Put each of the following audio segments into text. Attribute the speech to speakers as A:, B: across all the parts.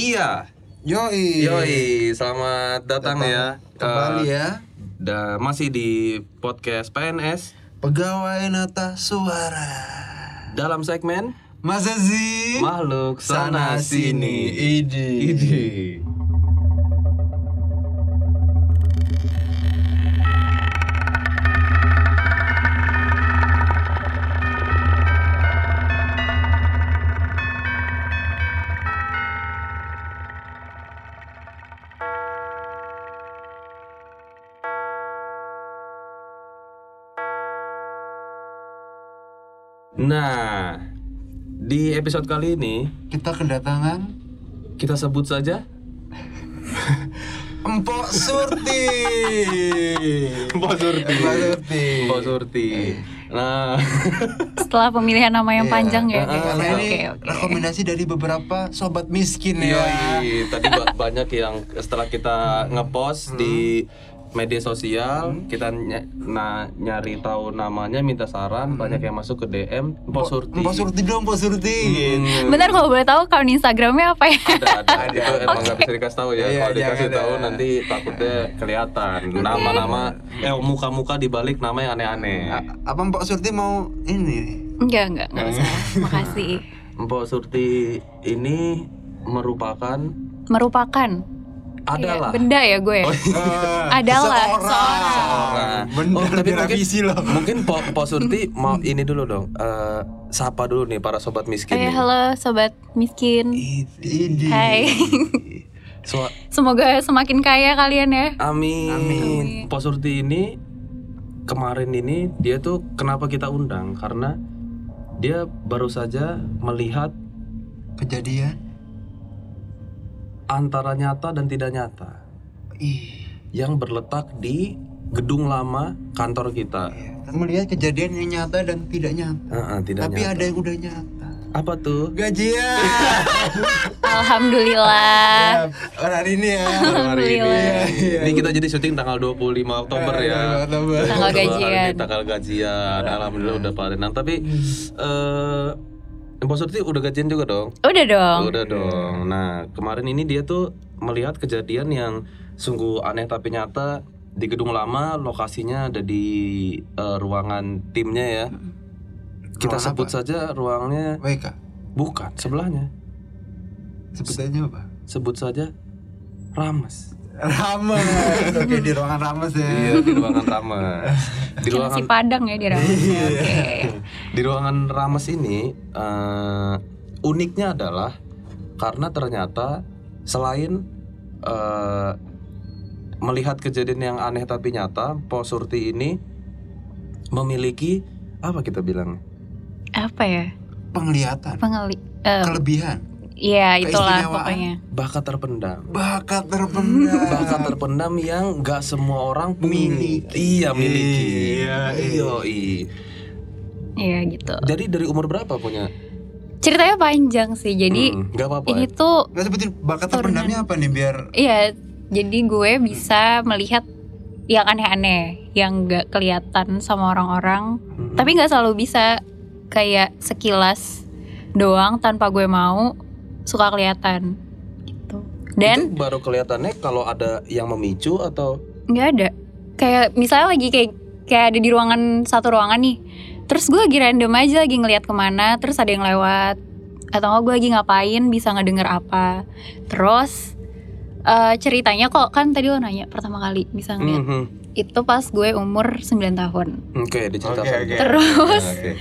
A: Iya.
B: Yoi.
A: Yoi, selamat datang, ya.
B: Iya. Kembali
A: Eh,
B: ya.
A: da- masih di podcast PNS
B: Pegawai Nata Suara.
A: dalam segmen
B: Mas Aziz.
A: makhluk sana, sini.
B: Idi.
A: Idi. Nah, di episode kali ini
B: Kita kedatangan
A: kita sebut saja
B: Empok Surti.
A: Mbak Surti.
B: Empok Surti. Eh.
A: Mbak Surti. Nah,
C: setelah pemilihan nama
B: Iya.
C: yang panjang ya.
A: Heeh.
B: Karena Nah, ini
C: Oke, oke.
B: rekomendasi dari beberapa sobat miskin
A: yoi,
B: ya.
A: Iya. tadi ba- banyak yang setelah kita ngepost
B: Hmm.
A: di media sosial, kita ny- na- nyari tahu namanya, minta saran, banyak yang masuk ke DM Mbak Surti.
B: Empok Hmm. Surti dong, Empok Surti.
A: Hmm.
C: Bentar kalau boleh tahu akun Instagramnya apa ya?
A: Ada, ada. Itu emang nggak bisa dikasih tahu ya.
B: Iya,
A: Kalau dikasih
B: jangan,
A: tahu
B: ada.
A: nanti takutnya kelihatan nama-nama, eh muka-muka di balik nama yang aneh-aneh.
B: A- Apa Empok Surti mau ini?
C: Enggak, enggak, enggak usah. Makasih.
A: Mbak Surti ini merupakan
C: Merupakan ya,
A: adalah
C: benda ya gue. ya?
B: iya.
C: Adalah,
B: seorang.
C: seorang.
A: Eh.
B: Bener
A: Oh, tapi mungkin-
B: direvisi loh.
A: Mungkin Po, po Surti mau ini dulu dong. eh, sapa dulu nih para sobat miskin.
C: Eh,
A: nih.
C: halo sobat miskin.
B: Idi.
C: Hai.
A: Soa-
C: Semoga semakin kaya kalian ya.
A: Amin.
B: Amin.
A: Po Surti ini kemarin ini dia tuh kenapa kita undang karena dia baru saja melihat
B: Kejadian.
A: antara nyata dan tidak nyata
B: Ih.
A: yang berletak di gedung lama kantor kita.
B: Melihat kejadian yang nyata dan tidak nyata.
A: Heeh, tidak
B: Tapi
A: nyata.
B: ada yang udah nyata. ya.
A: Apa tuh?
B: Gajian.
C: Alhamdulillah.
B: Orang hari ini ya.
A: hari ini.
C: Alhamdulillah.
B: Iya,
A: Ini kita jadi syuting tanggal 25 Oktober ya.
B: Oktober.
C: Tanggal
A: Hari ini
C: gajian.
A: Tanggal gajian. Alhamdulillah udah parenan. Tapi eh Mbak Surti udah gajian juga dong.
C: Udah dong.
A: Udah dong. Nah, kemarin ini dia tuh melihat kejadian yang sungguh aneh tapi nyata di gedung lama lokasinya ada di eh, ruangan timnya ya. Kita
B: Ruangan
A: sebut saja ruangnya
B: WK.
A: bukan sebelahnya.
B: Sebutannya apa?
A: Sebut saja Rames.
B: Rames. Oke di ruangan Rames ya.
A: Iya, di ruangan Rames. Di ruangan
C: Nasi Padang ya di Rames. Oke.
A: di ruangan Rames ini eh, uniknya adalah karena ternyata selain eh, melihat kejadian yang aneh tapi nyata, Po Surti ini memiliki apa kita bilang?
C: Apa ya?
B: Penglihatan.
C: Pengeli eh,
B: Kelebihan.
C: Iya, itulah
B: Keistimewaan.
C: pokoknya.
A: Bakat terpendam.
B: Bakat terpendam.
A: Bakat terpendam yang nggak semua orang punya.
B: Miliki.
A: Iya miliki.
B: Iya, iya.
A: Yoi.
C: Iya, gitu.
A: Jadi dari umur berapa punya?
C: Ceritanya panjang sih. Jadi
A: Mm, nggak apa-apa.
C: ini tuh
B: Nggak Nah, sebutin bakat terpendamnya apa nih biar
C: Iya, jadi gue bisa melihat yang aneh-aneh, yang nggak kelihatan sama orang-orang.
A: Mm-mm.
C: Tapi nggak selalu bisa kayak sekilas doang tanpa gue mau suka kelihatan. Gitu. Dan
A: Itu baru kelihatannya kalau ada yang memicu atau
C: nggak ada. Kayak misalnya lagi kayak kayak ada di ruangan satu ruangan nih. Terus gue lagi random aja lagi ngeliat kemana. Terus ada yang lewat. Atau nggak gue lagi ngapain bisa ngedenger apa. Terus eh, ceritanya kok kan tadi lo nanya pertama kali bisa ngeliat
A: Mhm.
C: itu pas gue umur 9 tahun.
A: Oke, diceritakan.
B: Oke, oke.
C: Terus
B: iya,
A: Oke.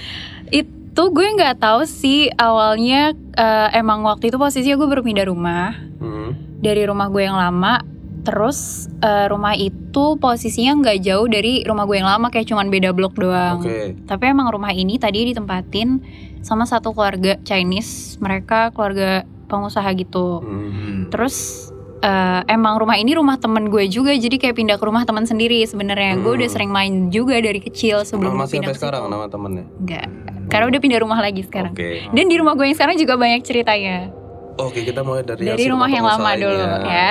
C: itu gue nggak tahu sih awalnya eh, emang waktu itu posisinya gue berpindah rumah
D: Hmm,
A: Mhm.
C: dari rumah gue yang lama. Terus eh, rumah itu posisinya nggak jauh dari rumah gue yang lama kayak cuman beda blok doang.
A: Oke.
C: Tapi emang rumah ini tadi ditempatin sama satu keluarga Chinese. Mereka keluarga pengusaha gitu.
D: Hmm.
A: Mhm.
B: Hmm.
C: Terus eh, emang rumah ini rumah temen gue juga, jadi kayak pindah ke rumah teman sendiri sebenarnya. Gue
A: Hmm.
C: udah sering main juga dari kecil sebelum gue
A: masih sampai
C: pindah ke
A: sekarang
C: situ.
A: nama temennya.
C: Enggak, karena udah pindah rumah lagi sekarang.
A: Oke.
C: Dan di rumah gue yang sekarang juga banyak ceritanya.
A: Oke, kita mulai dari,
C: Dari rumah yang lama
A: pengusaha
C: dulu
A: ini
C: ya.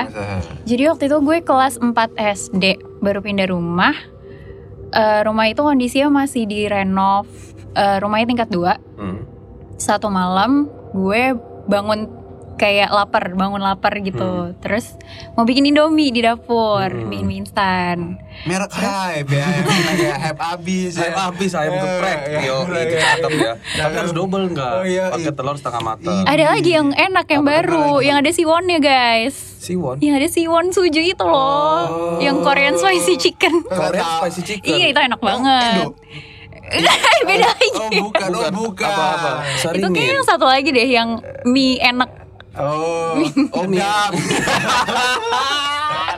C: Jadi waktu itu gue kelas 4 SD baru pindah rumah. Eh, rumah itu kondisinya masih direnov.
D: Hmm.
C: Eh, rumahnya tingkat 2.
A: Mhm.
C: Satu malam gue bangun kayak lapar bangun lapar gitu terus mau bikin indomie di dapur
D: Hmm.
C: mie, mie instan
B: merek hype ya emang lagi hype abis ya
D: Saya habis ayam
B: Eh,
D: geprek.
B: iya,
D: Yo,
B: iya,
D: itu
B: iya.
D: cakep ya. Tapi
B: Cakep.
D: harus double enggak?
B: Oh, iya,
D: Pakai
B: iya.
D: telur setengah matang.
B: Iya.
C: ada lagi yang enak yang
D: Apa
C: baru
B: lagi?
C: yang ada siwonnya guys
D: Siwon.
C: yang ada siwon suju itu
D: Oh.
C: loh yang Korean spicy chicken
D: Korea
B: Tahu.
D: spicy chicken.
C: iya itu enak
B: Indo
C: banget Eh, beda lagi
B: oh bukan oh bukan
D: Apa-apa.
C: itu
D: Saringin.
C: kayaknya yang satu lagi deh yang mie enak
B: oh
D: Oh, mie.
B: sedap.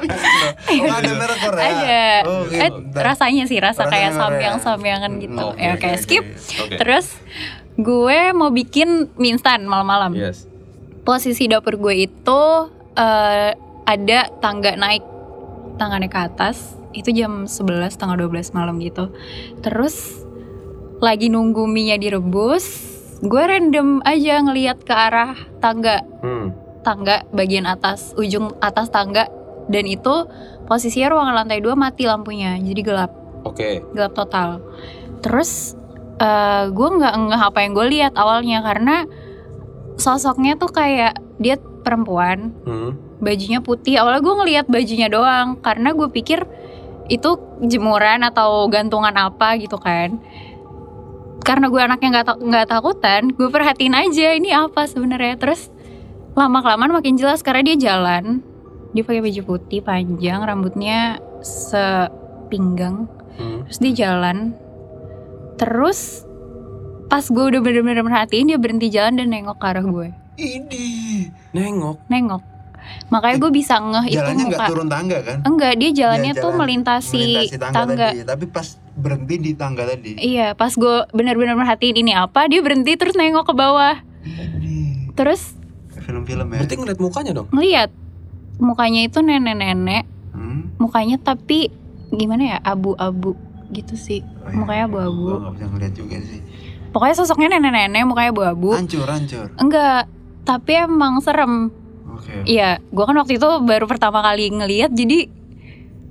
B: Oh, ada merek Korea
C: ada
B: Oke,
C: eh,
B: Oh, gitu. bentar.
C: rasanya sih rasa
B: Rasanya
C: kayak
B: Korea.
C: samyang samyangan gitu
D: Oke,
C: ya
D: oke,
C: kayak
B: oke.
C: skip
D: Oke.
C: terus gue mau bikin mie instan malam-malam
B: Iya.
D: Yes.
C: posisi dapur gue itu eh, ada tangga naik tangannya ke atas itu jam 11 tengah 12 malam gitu terus lagi nunggu mie nya direbus gue random aja ngelihat ke arah tangga
D: Hmm.
C: tangga bagian atas ujung atas tangga dan itu posisinya ruangan lantai dua mati lampunya jadi gelap
D: Oke.
C: gelap total terus eh, gue nggak ngeh apa yang gue lihat awalnya karena sosoknya tuh kayak dia perempuan
D: Hmm.
C: bajunya putih awalnya gue ngelihat bajunya doang karena gue pikir itu jemuran atau gantungan apa gitu kan karena gue anaknya nggak ta- nggak takutan gue perhatiin aja ini apa sebenarnya terus lama kelamaan makin jelas karena dia jalan dia pakai baju putih panjang rambutnya sepinggang
D: Hmm.
C: terus dia jalan terus pas gue udah bener-bener merhatiin dia berhenti jalan dan nengok ke arah gue
B: ini
D: Nengok.
C: nengok makanya gue bisa ngeh Oh, itu
B: jalannya nggak
C: muka
B: turun tangga kan
C: enggak dia jalannya
B: Dia
C: tuh
B: jalan
C: melintasi,
B: melintasi
C: tangga,
B: tadi tapi pas berhenti di tangga tadi
C: iya pas gue bener-bener merhatiin ini apa dia berhenti terus nengok ke bawah
B: Ini
C: terus
B: film-film ya
D: Berarti ngeliat mukanya dong.
C: ngeliat mukanya itu nenek-nenek
B: Hmm?
C: mukanya tapi gimana ya abu-abu gitu sih
B: Oh, iya.
C: Mukanya abu-abu.
B: Gua nggak bisa ngeliat juga sih
C: pokoknya sosoknya nenek-nenek mukanya abu-abu
B: hancur hancur
C: enggak tapi emang serem
B: oke
C: Iya, gue kan waktu itu baru pertama kali ngeliat, jadi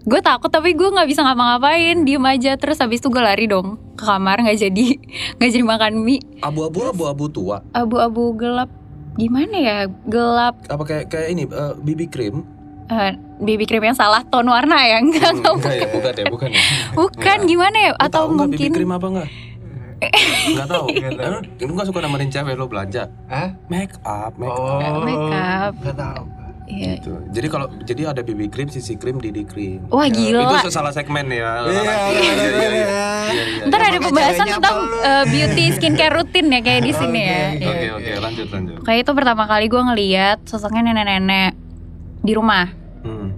C: gue takut tapi gue nggak bisa ngapa-ngapain, diem aja. Terus habis itu gue lari dong ke kamar, nggak jadi nggak jadi makan mie,
D: Abu-abu abu-abu tua.
C: abu-abu gelap. Gimana ya gelap
D: Apa kayak kayak ini eh, BB cream?
C: eh, baby cream yang salah ton warna ya enggak
D: Hmm,
C: enggak
D: enggak ya, bukan ya, bukan ya.
C: bukan gimana ya
D: Lu
C: atau
D: tahu nggak BB
C: mungkin
D: cream apa enggak? Enggak tahu.
B: Nggak tahu.
D: Eh, Lu enggak suka nemenin cewek lu belanja?
B: Hah?
D: Make up, make up.
B: oh
C: Make up.
B: nggak tahu
C: Iya.
D: Gitu. Jadi kalau jadi ada BB cream, sisi cream, Didi cream.
C: wah Oh, gila
D: Ya, Itu salah segmen ya.
B: Iya, iya, iya, iya.
D: iya.
C: ntar ada
B: Makanya
C: pembahasan
B: ceweknya apa
C: tentang
B: lu?
C: eh, beauty skincare rutin ya kayak di sini ya
B: Oke,
C: Iya.
D: Oke, oke, lanjut, lanjut.
C: Kayak itu pertama kali gue ngeliat sosoknya nenek-nenek di rumah.
D: Hmm.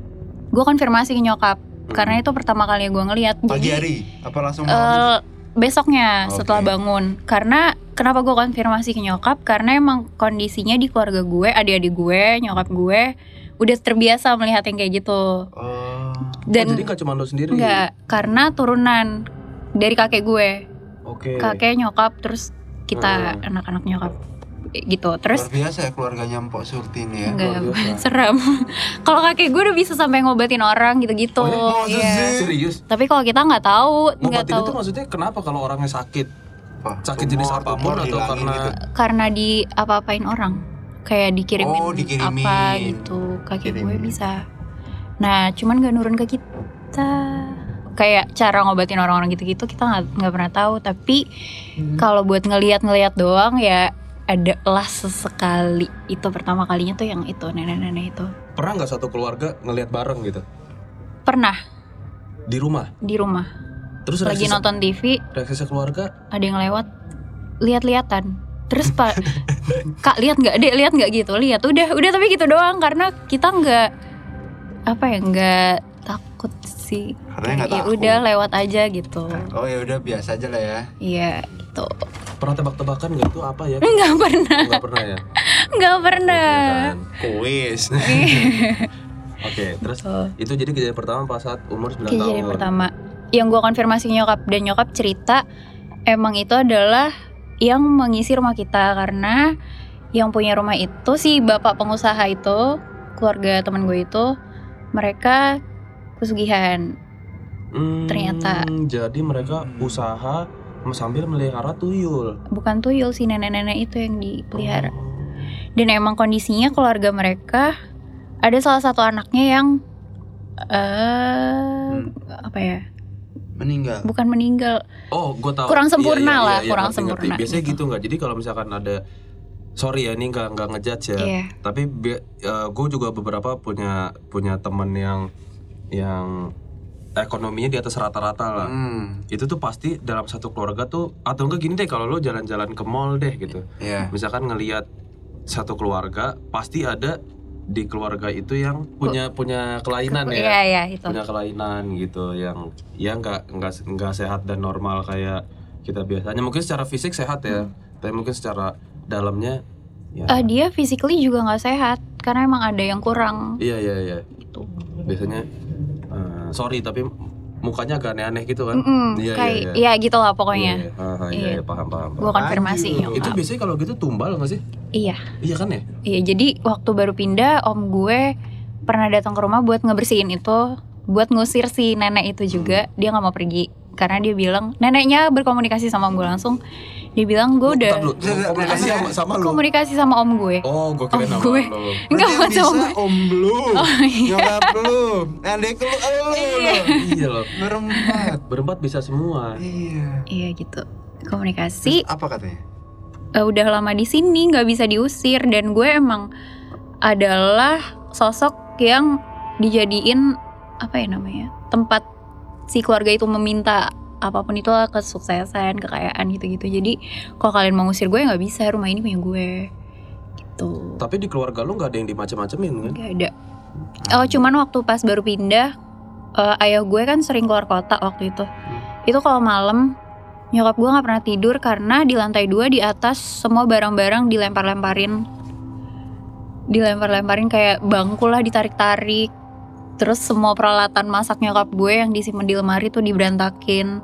C: Gue konfirmasi ke nyokap karena itu pertama kali gue ngeliat.
B: pagi
C: Jadi,
B: hari apa langsung malam
C: eh, besoknya
B: Oke.
C: setelah bangun. Karena kenapa gue konfirmasi ke nyokap? Karena emang kondisinya di keluarga gue, adik-adik gue, nyokap gue udah terbiasa melihat yang kayak gitu.
B: oh
D: oh, jadi
C: Dan
D: nggak cuma lo sendiri.
C: enggak karena turunan dari kakek gue,
D: Oke.
C: kakek nyokap terus
D: Hmm.
C: kita anak-anak nyokap gitu. Terus
B: luar biasa ya keluarganya Mpok Surti nih ya
C: Enggak.
D: Luar biasa.
C: Serem. kalau kakek gue udah bisa sampai ngobatin orang gitu-gitu.
B: Oh, iya? Masa
C: Iya.
B: sih?
D: Serius?
C: Tapi kalau kita nggak tahu,
D: ya?
C: nggak
D: Ngobatin
C: tahu
D: itu maksudnya kenapa kalau orangnya sakit?
B: Wah,
D: Sakit jenis
B: tumor,
D: apapun
B: tumor
D: atau
B: dihilangin
D: karena-
B: gitu.
C: karena di apa-apain orang. Kayak dikirimin,
B: Oh, dikirimin.
C: apa gitu. Kakek gue
B: Dikirimin.
C: bisa. Nah, cuman nggak nurun ke kita. Kayak cara ngobatin orang-orang gitu-gitu kita nggak nggak pernah tahu. Tapi
B: Hmm.
C: kalau buat ngeliat-ngeliat doang ya ada lah sesekali. Itu pertama kalinya tuh yang itu nenek-nenek itu.
D: Pernah nggak satu keluarga ngelihat bareng gitu
C: Pernah
D: di rumah?
C: di rumah
D: Terus
C: lagi
D: reaksi,
C: nonton TV
D: reaksi sekeluarga?
C: ada yang lewat lihat-lihatan terus pak kak lihat nggak dek lihat nggak gitu lihat udah udah tapi gitu doang karena kita nggak apa ya nggak takut sih
B: Katanya nggak
C: ya
B: takut.
C: udah lewat aja gitu
B: oh ya udah biasa aja lah ya
C: iya gitu
D: Pernah tebak-tebakan nggak itu apa ya?
C: nggak pernah
D: Nggak pernah ya.
C: nggak pernah
D: Kuis. Oke, terus
C: Tuh,
D: itu jadi kejadian pertama pas saat umur 9
C: kejadian
D: tahun.
C: pertama yang gua konfirmasi ke nyokap dan nyokap cerita emang itu adalah yang mengisi rumah kita karena yang punya rumah itu si bapak pengusaha itu keluarga teman gue itu mereka pesugihan
D: Hmm,
C: Ternyata.
D: Jadi mereka usaha sambil melihara tuyul.
A: Oh.
C: bukan tuyul si nenek-nenek itu yang dipelihara dan emang kondisinya keluarga mereka ada salah satu anaknya yang eh
B: Hmm.
C: apa ya
B: meninggal.
C: bukan meninggal
A: Oh, gue tahu. iya,
C: Kurang sempurna lah, kurang
A: ngerti, ngerti.
C: sempurna
A: Biasanya
C: gitu.
A: gitu nggak. Jadi kalau misalkan ada, sorry ya ini nggak nggak ngejudge ya.
C: Iya.
A: Tapi gue juga beberapa punya punya temen yang yang ekonominya di atas rata-rata lah.
B: Hmm,
A: Itu tuh pasti dalam satu keluarga tuh atau enggak gini deh kalau lo jalan-jalan ke mall deh gitu.
B: ya.
A: Misalkan ngelihat satu keluarga pasti ada di keluarga itu yang punya punya kelainan ya
C: iya iya itu
A: punya kelainan gitu yang ya nggak nggak nggak sehat dan normal kayak kita biasanya mungkin secara fisik sehat ya tapi mungkin secara dalamnya ya
C: Eh, dia physically juga nggak sehat karena emang ada yang kurang
A: iya iya iya
C: gitu
A: biasanya eh, sorry tapi mukanya agak aneh-aneh gitu kan
C: Mm-mm,
A: Iya,
C: kayak
A: iya,
C: iya gitu lah pokoknya
A: iya ah, ah, iya,
C: Iya.
A: iya, paham paham, paham.
C: gua konfirmasi
B: Lanjut.
A: itu biasanya kalau gitu tumbal nggak sih
C: iya
A: iya kan ya
C: iya jadi waktu baru pindah om gue pernah datang ke rumah buat ngebersihin itu buat ngusir si nenek itu juga
A: Hmm.
C: dia nggak mau pergi karena dia bilang neneknya berkomunikasi sama om gue langsung dia bilang gue udah
A: Oh, Bentar, lu komunikasi sama, sama lu
C: komunikasi sama om gue
A: oh gue kira
C: Om
A: nama
C: gue.
A: lu
C: enggak
B: Berarti
C: Oh, bukan
B: yang bisa
C: sama gue
B: om lu,
C: iya.
B: nyokap lu, adek lu, eh, lu, lu.
A: iya loh
B: Berempat.
A: berempat bisa semua
B: Iya.
C: iya gitu
B: Terus
C: komunikasi
B: apa katanya?
C: eh, udah lama di sini nggak bisa diusir dan gue emang adalah sosok yang dijadiin apa ya namanya tempat si keluarga itu meminta apapun itu lah, kesuksesan kekayaan gitu-gitu jadi kalau kalian mau ngusir gue nggak bisa rumah ini punya gue gitu
A: tapi di keluarga lu nggak ada yang dimacem-macemin kan
C: nggak ada oh cuman waktu pas baru pindah eh, ayah gue kan sering keluar kota waktu itu itu kalau malam nyokap gue nggak pernah tidur karena di lantai dua di atas semua barang-barang dilempar-lemparin dilempar-lemparin kayak bangku lah ditarik-tarik terus semua peralatan masak nyokap gue yang disimpan di lemari tuh diberantakin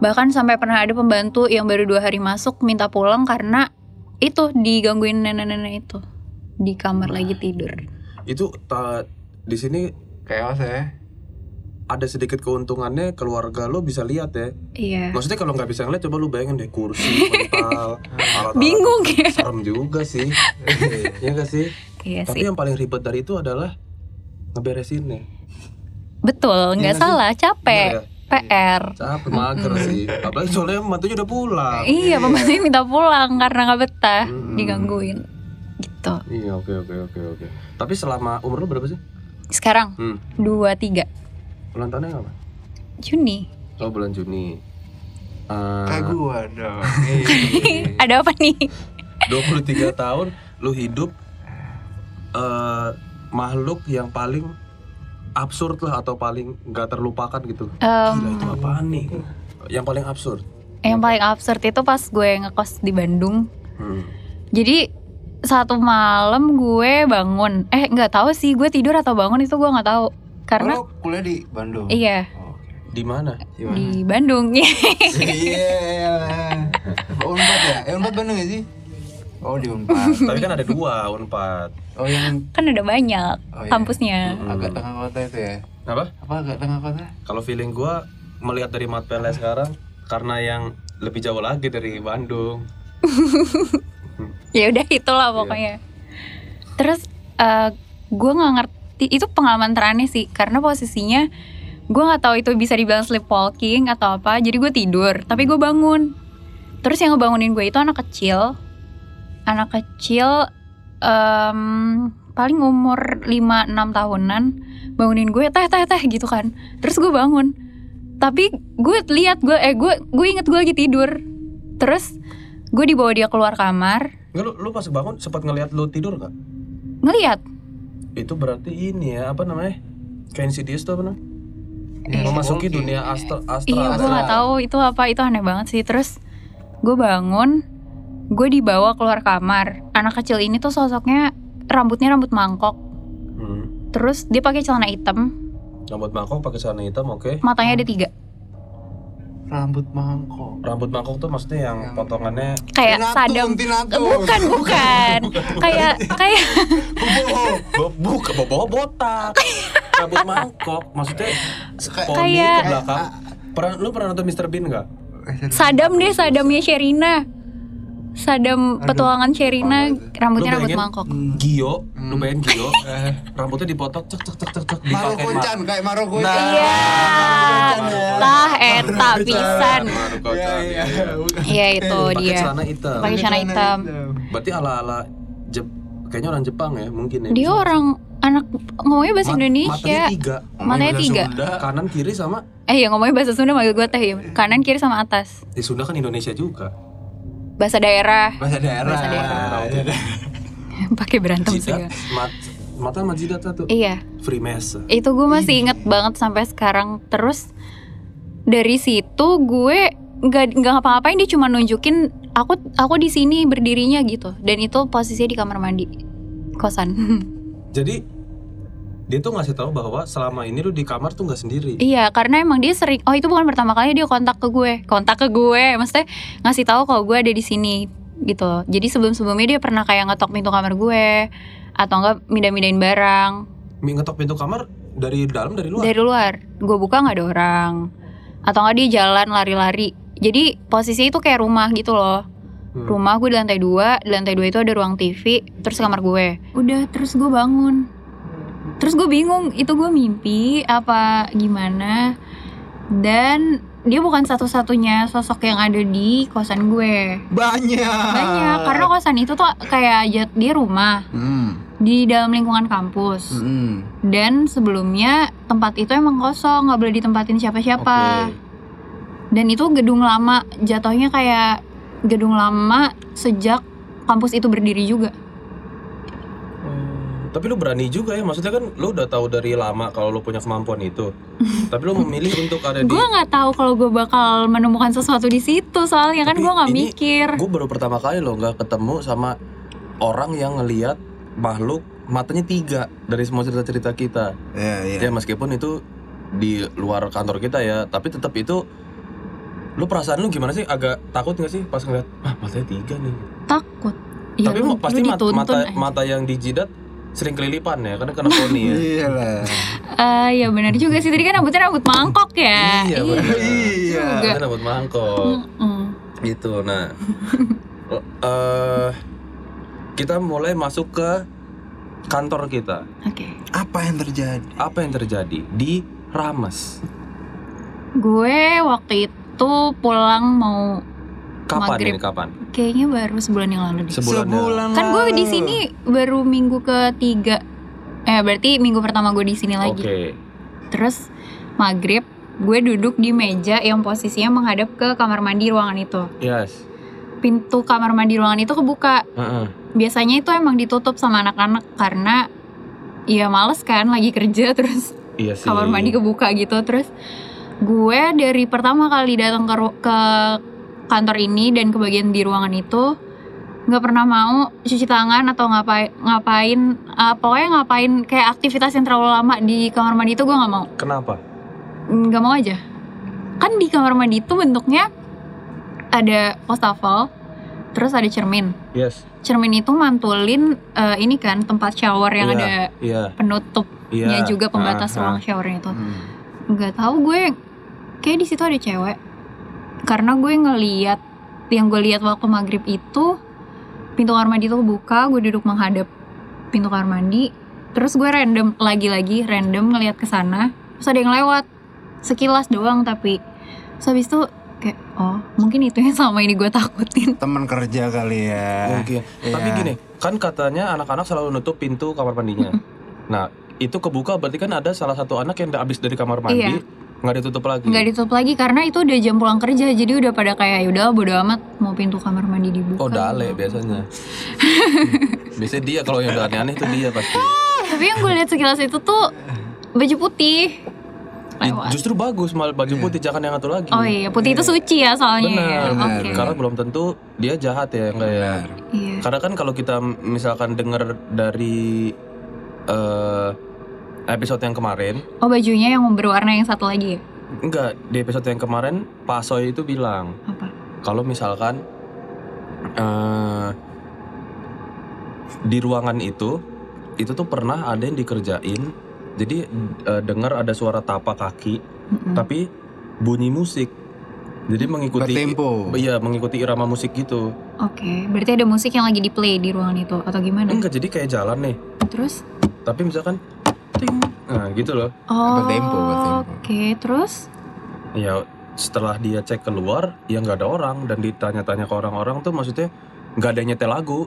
C: bahkan sampai pernah ada pembantu yang baru dua hari masuk minta pulang karena itu digangguin nenek-nenek itu di kamar lagi tidur
A: itu ta- di sini
B: Chaos
D: Eh.
B: ya.
A: ada sedikit keuntungannya keluarga lo bisa lihat ya.
C: iya
A: Maksudnya kalau nggak bisa ngeliat coba lu bayangin deh kursi, mental, alat
C: bingung ya
A: Serem juga sih. Iya nggak sih?
C: iya
A: Tapi
C: sih
A: yang paling ribet dari itu adalah ngeberesinnya.
C: betul nggak
A: Iya nggak sih?
C: salah capek
A: Bener ya?
C: PR
A: Capek mager sih. Apalagi soalnya mantunya udah pulang.
C: Hmm. Iya, pembantunya minta pulang karena nggak betah,
A: Mm-mm.
C: digangguin. Gitu.
A: Iya, oke oke oke oke. Tapi selama umur lu berapa sih?
C: Sekarang
A: Hmm.
C: 23
A: Ulang tahunnya apa?
C: Juni.
A: Oh, bulan Juni. Eh
B: Kayak gua dong.
A: 23
B: Iya.
C: Ada apa nih?
A: tahun lu hidup eh makhluk yang paling absurd lah atau paling nggak terlupakan gitu.
C: Em,
A: Gila itu apaan nih? Yang paling absurd.
C: yang paling absurd itu pas gue ngekos di Bandung.
A: Hmm.
C: Jadi satu malam gue bangun. Eh, nggak tahu sih gue tidur atau bangun itu gue nggak tahu. Karena
B: Lu Oh, kuliah di Bandung.
C: iya
B: Oh, oke.
A: Di mana?
B: Gimana?
C: di Bandung.
B: Iya. Unpad ya? Eh Unpad Bandung ya sih? Oh di Unpad.
A: Tapi kan ada dua, unpad.
B: Oh yang
C: kan ada banyak
B: Oh, iya.
C: kampusnya.
B: agak tengah kota itu ya?
A: Apa?
B: Apa agak tengah kota?
A: Kalau feeling gua melihat dari Mat Pele sekarang karena yang lebih jauh lagi dari Bandung.
C: ya udah itulah pokoknya terus gue nggak ngerti itu pengalaman teraneh sih karena posisinya gue nggak tahu itu bisa dibilang sleepwalking atau apa jadi gue tidur tapi gue bangun terus yang ngebangunin gue itu anak kecil anak kecil em, paling umur 5-6 tahunan bangunin gue teh teh teh gitu kan terus gue bangun tapi gue lihat gue eh gue gue inget gue lagi tidur terus gue dibawa dia keluar kamar
A: Nggak, lu, lu pas bangun sempat ngelihat lu tidur nggak?
C: ngelihat
A: Itu berarti ini ya, apa namanya? Kayak insidious tuh apa namanya?
B: Iya,
A: Memasuki
B: walking.
A: dunia astral astral.
C: iya gue nggak tahu itu apa itu aneh banget sih terus gue bangun gue dibawa keluar kamar anak kecil ini tuh sosoknya rambutnya rambut mangkok
A: Hmm.
C: terus dia pakai celana hitam
A: Rambut mangkok pakai celana hitam, oke.
C: matanya ada tiga
B: Rambut mangkok.
A: Rambut mangkok tuh maksudnya yang
B: Yang-
A: potongannya
C: kayak
B: Tinatun,
C: sadam Eh,
B: tinatun.
C: bukan bukan kayak kayak
B: Kupu.
A: Bo- buka bawa botak rambut mangkok maksudnya
B: Kayak-
A: poni
C: Kayak- eh,
A: ke belakang pernah lu pernah nonton Mr Bean nggak
C: sadam deh sadamnya Sherina Sadam
B: Aduh.
C: petualangan Sherina
B: Apa itu?
C: rambutnya
A: Lu
C: rambut
A: bayangin?
C: mangkok. Eh.
A: Gio,
B: Hmm.
A: lu bayangin Gio, rambutnya dipotong, cek cek cek cek cek,
B: Maro
A: dipakai
B: kuncan kayak Maro kuncan.
A: Nah.
C: Iya.
B: Iya.
C: Tah eta pisan.
A: Maro
B: Iya,
A: kuncan,
B: iya.
A: iya.
C: Iya itu
A: pakai
C: dia.
A: celana hitam.
C: Pakai celana hitam.
A: Berarti ala ala Jep, kayaknya orang Jepang ya mungkin ya.
C: Dia orang anak ngomongnya bahasa
A: Ma-
C: Indonesia.
A: Matanya tiga,
C: Matanya
B: Bahasa
C: tiga.
B: Sunda.
A: kanan kiri sama.
C: Eh ya ngomongnya bahasa Sunda manggil gue teh ya. Kanan kiri sama atas.
A: Di Sunda kan Indonesia juga.
C: Bahasa daerah.
B: Bahasa daerah.
C: Bahasa daerah.
B: Iya, iya.
C: Pakai berantem
A: Jidat,
C: segala.
A: mat, mata sama jidat satu.
B: Eh.
C: Iya.
A: Freemason.
C: itu gue masih inget banget sampai sekarang terus dari situ gue nggak nggak ngapa-ngapain dia cuma nunjukin aku aku di sini berdirinya gitu dan itu posisinya di kamar mandi kosan
A: Jadi dia tuh ngasih tahu bahwa selama ini lu di kamar tuh nggak sendiri.
B: Eh.
C: iya karena emang dia sering oh itu bukan pertama kali dia kontak ke gue kontak ke gue maksudnya ngasih tahu kalau gue ada di sini gitu loh. jadi sebelum-sebelumnya dia pernah kayak ngetok pintu kamar gue atau enggak mindah-mindahin barang
A: Mi ngetok pintu kamar dari dalam dari luar.
C: dari luar gue buka nggak ada orang atau nggak dia jalan lari-lari jadi posisinya itu kayak rumah gitu loh
A: Hmm.
C: rumah gue di lantai dua di lantai dua itu ada ruang TV terus kamar gue udah terus gue bangun terus gue bingung itu gue mimpi apa gimana dan dia bukan satu-satunya sosok yang ada di kosan gue
B: Banyak.
C: banyak karena kosan itu tuh kayak jat- dia rumah
B: Hmm.
C: di dalam lingkungan kampus
B: Hmm.
C: dan sebelumnya tempat itu emang kosong nggak boleh ditempatin siapa-siapa
B: Oke.
C: dan itu gedung lama jatuhnya kayak gedung lama sejak kampus itu berdiri juga
A: Hmm, Tapi lu berani juga ya, maksudnya kan lu udah tahu dari lama kalau lu punya kemampuan itu. Tapi lu memilih untuk ada di
C: gue nggak tahu kalau gue bakal menemukan sesuatu di situ soalnya kan
A: Tapi
C: gue nggak
A: ini-
C: mikir
A: Gue baru pertama kali loh nggak ketemu sama orang yang ngeliat makhluk matanya tiga dari semua cerita-cerita kita.
B: Iya,
A: Ya
B: iya.
A: meskipun itu di luar kantor kita ya, tapi tetap itu lu perasaan lu gimana sih? Agak takut nggak sih pas ngeliat ah matanya tiga nih?
C: takut Ya,
A: tapi
C: lu-
A: mau- pasti
C: lu
A: mat-
C: dituntun eh.
A: mata
C: aja.
A: mata yang di jidat sering kelilipan ya karena kena poni ya.
B: Iya lah.
C: Ah, ya benar juga sih tadi kan rambutnya rambut mangkok ya
A: Iya, benar.
B: Iya.
C: Juga. Hmm,
A: Karena rambut mangkok
C: Mm-mm.
A: gitu. Nah, eh kita mulai masuk ke kantor kita.
C: oke
B: Apa yang terjadi?
A: Apa yang terjadi di Rames?
C: gue waktu itu pulang mau
A: Kapan
C: Maghrib.
A: ini kapan?
C: kayaknya baru sebulan yang lalu deh
A: Sebulan ya?
C: Kan gue
B: lalu.
C: di sini baru minggu ketiga. Eh berarti minggu pertama gue di sini
A: Oke.
C: lagi. Terus maghrib gue duduk di meja yang posisinya menghadap ke kamar mandi ruangan itu.
A: Yes.
C: Pintu kamar mandi ruangan itu kebuka.
A: Heeh.
C: Biasanya itu emang ditutup sama anak-anak karena ya males kan lagi kerja terus
A: Iya sih.
C: kamar mandi kebuka gitu terus gue dari pertama kali datang ke ru- ke kantor ini dan ke bagian di ruangan itu nggak pernah mau cuci tangan atau ngapain ngapain eh, pokoknya ngapain kayak aktivitas yang terlalu lama di kamar mandi itu gue nggak mau
A: Kenapa?
C: nggak mau aja kan di kamar mandi itu bentuknya ada wastafel terus ada cermin
A: Yes.
C: cermin itu mantulin eh, ini kan tempat shower yang
A: Iya,
C: ada
A: Iya.
C: penutupnya
A: Iya.
C: juga pembatas
A: Ah,
C: ruang showernya itu
B: Hmm.
C: nggak tahu gue kayak di situ ada cewek karena gue ngeliat yang gue lihat waktu maghrib itu pintu kamar mandi itu kebuka gue duduk menghadap pintu kamar mandi terus gue random lagi-lagi random ngeliat ke sana terus ada yang lewat sekilas doang tapi terus habis itu kayak oh mungkin itu yang selama ini gue takutin
B: Teman kerja kali ya.
A: ah. Mungkin. Tapi
B: Iya.
A: gini, kan katanya anak-anak selalu nutup pintu kamar mandinya. Nah, itu kebuka berarti kan ada salah satu anak yang udah habis dari kamar mandi,
C: Iya.
A: nggak ditutup lagi.
C: nggak ditutup lagi karena itu udah jam pulang kerja jadi udah pada kayak yaudah bodo amat mau pintu kamar mandi dibuka
A: Oh, dale biasanya. biasanya dia kalau yang udah aneh-aneh itu dia pasti.
C: tapi yang gue lihat sekilas itu tuh baju putih lewat.
A: Justru bagus malah baju putih jangan yang satu lagi.
C: Oh iya, putih itu suci ya soalnya. ya.
A: Benar.
C: Oke.
A: Karena belum tentu dia jahat ya enggak ya.
B: Benar.
C: Iya.
A: Karena kan kalau kita misalkan dengar dari eh, episode yang kemarin,
C: Oh bajunya yang berwarna yang satu lagi ya?
A: enggak di episode yang kemarin Pak Soy itu bilang
C: Apa?
A: kalau misalkan eh, di ruangan itu itu tuh pernah ada yang dikerjain, jadi eh, dengar ada suara tapak kaki,
C: Mm-mm.
A: tapi bunyi musik, jadi mengikuti
B: Bertempo.
A: Iya mengikuti irama musik gitu.
C: Oke, berarti ada musik yang lagi di play di ruangan itu atau gimana?
A: Enggak jadi kayak jalan nih.
C: Terus?
A: Tapi misalkan ting nah gitu loh.
B: tempo,
C: Oh.
B: apa tempo.
C: Oke, terus?
A: Ya setelah dia cek keluar ya nggak ada orang dan ditanya-tanya ke orang-orang tuh maksudnya nggak ada yang nyetel lagu.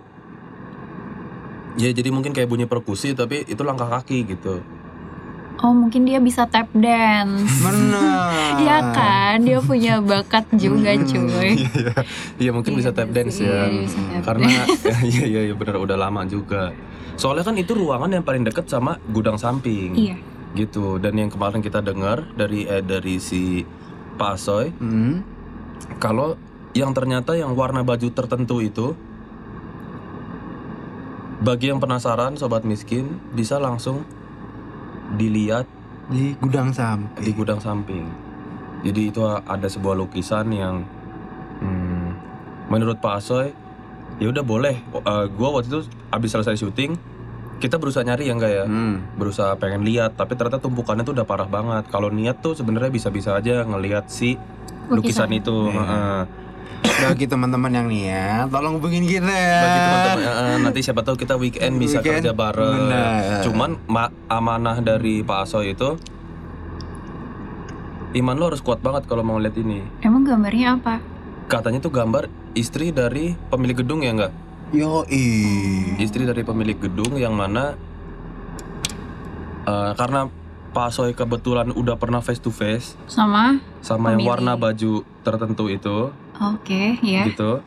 A: Ya jadi mungkin kayak bunyi perkusi tapi itu langkah kaki gitu.
C: Oh, mungkin dia bisa tap dance.
B: Benar.
C: Iya kan, dia punya bakat juga cuy.
A: Iya, Iya mungkin bisa tap dance ya.
C: Iya, bisa tap
A: Karena iya iya iya benar udah lama juga. Soalnya kan itu ruangan yang paling dekat sama gudang samping.
C: Iya.
A: Gitu. Dan yang kemarin kita dengar dari eh, dari si Pasoy
B: Hmm.
A: kalau yang ternyata yang warna baju tertentu itu bagi yang penasaran sobat miskin bisa langsung dilihat
B: Di gudang samping.
A: di gudang samping. Jadi itu a- ada sebuah lukisan yang hmm, menurut Pak Asoy ya udah boleh. O- eh, gua waktu itu habis selesai syuting kita berusaha nyari ya enggak ya?
B: Hmm.
A: Berusaha pengen lihat tapi ternyata tumpukannya tuh udah parah banget. Kalau niat tuh sebenarnya bisa-bisa aja ngelihat si lukisan,
C: Lukisan.
A: itu.
B: Iya.
A: Heeh.
B: Bagi teman-teman yang nih ya, tolong hubungin kita ya.
A: Bagi teman-teman eh, nanti siapa tahu kita weekend bisa
B: Weekend.
A: kerja bareng.
B: Benar.
A: Cuman ma- amanah dari Pak Asoy itu iman lo harus kuat banget kalau mau lihat ini.
C: Emang gambarnya apa?
A: katanya tuh gambar istri dari pemilik gedung ya enggak?
B: Hmm. Yo
A: Istri dari pemilik gedung yang mana eh, karena Pak Soy kebetulan udah pernah face to face
C: Sama?
A: sama yang
C: Pemilik.
A: warna baju tertentu itu
C: Oke, ya.
A: gitu.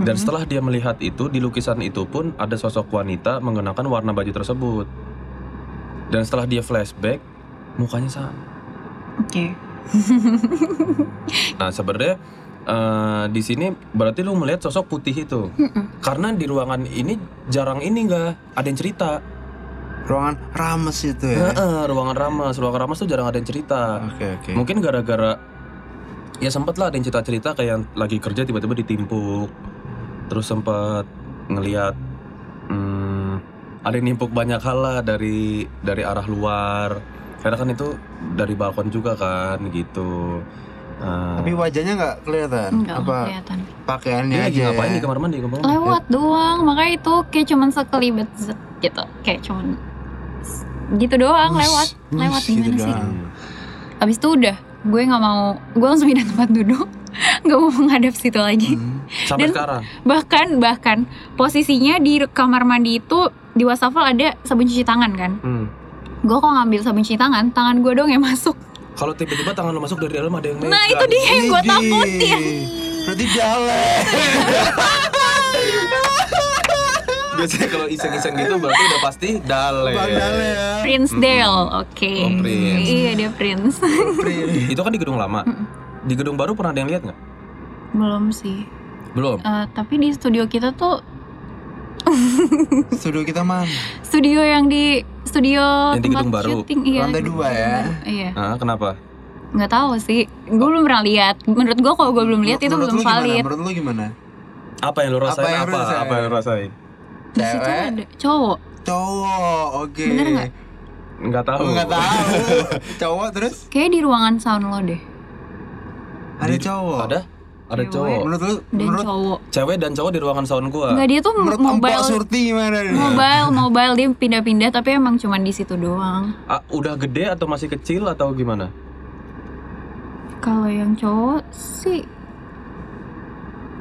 A: Dan
C: Mhm.
A: setelah dia melihat itu di lukisan itu pun ada sosok wanita menggunakan warna baju tersebut. Dan setelah dia flashback mukanya sama.
C: Oke.
A: Nah sebenarnya eh, di sini berarti lu melihat sosok putih itu.
C: Mm-mm.
A: Karena di ruangan ini jarang ini nggak ada yang cerita.
B: Ruangan rames itu ya.
A: Heeh, ruangan ramas, ruangan ramas tuh jarang ada yang cerita.
B: Oke oke.
A: Mungkin gara-gara ya sempet lah ada yang cerita-cerita kayak yang lagi kerja tiba-tiba ditimpuk, terus sempet ngelihat hmm, ada yang nimpuk banyak hal lah dari dari arah luar. Karena kan itu dari balkon juga kan gitu. Eh,
B: Tapi wajahnya nggak kelihatan.
C: Enggak
B: Apa
C: kelihatan.
B: pakaiannya
A: dia lagi
B: aja.
A: iya, ngapain di
B: ya?
A: kamar mandi ngomong?
C: Lewat doang, makanya itu kayak cuman sekelibet zet gitu. Kayak cuman s- gitu doang
B: Wus,
C: lewat.
B: wus,
C: Lewat
B: gitu
C: gimana
A: Hmm.
C: sih?
B: doang.
C: Abis itu udah, gue nggak mau, gue langsung pindah tempat duduk. Gak mau menghadap situ lagi.
B: Hmm.
A: Sampai
C: Dan-
A: sekarang.
C: Bahkan, bahkan posisinya di kamar mandi itu di wastafel ada sabun cuci tangan kan.
A: Hmm.
C: Gue kok ngambil sabun cuci tangan, tangan gue dong yang masuk.
A: Kalau tiba-tiba tangan lo masuk dari dalam ada yang
C: Nah itu
A: megang.
C: dia yang gue
B: Widih.
C: takutin.
B: Berarti jalan.
A: Biasanya kalau iseng-iseng gitu berarti udah pasti dale.
B: Bang Dale ya.
C: Prince Dale, oke.
A: Oh, Prince.
C: Iya dia Prince.
B: Pri-
A: Itu kan di gedung lama. Di gedung baru pernah ada yang lihat nggak?
C: Belum sih.
A: Belum.
C: Eh, tapi di studio kita tuh
B: Studio iya. kita mana?
C: studio yang di studio
A: Yang di
C: tempat
A: gedung baru.
C: syuting iya
B: Lantai dua ya.
C: iya
A: Ah, kenapa?
C: nggak tahu sih gue belum pernah lihat menurut gue kalau gue belum lihat itu
B: Menurut lu
C: belum
B: gimana?
C: valid
B: Menurut lu gimana?
A: Apa yang lo rasain?
B: Apa yang
A: Apa?
B: lo rasain?
A: Apa yang lo rasain?
C: di situ
B: Cewek?
C: ada cowok
B: Cowok, oke.
C: Bener nggak?
A: Nggak tahu.
B: Enggak tahu. cowok terus?
C: kayak di ruangan sound lo deh
B: Ada cowok.
A: Ada? Ada
C: Cewek.
A: cowok.
B: Menurut Iya, lu
C: dan
B: menurut
C: cowok
A: Cewek dan cowok di ruangan sound gua.
C: nggak dia tuh
B: menurut Empok
C: mobile
B: Surti gimana nih?
C: mobile mobile dia pindah-pindah tapi emang cuman di situ doang
A: Ah, udah gede atau masih kecil atau gimana?
C: kalau yang cowok sih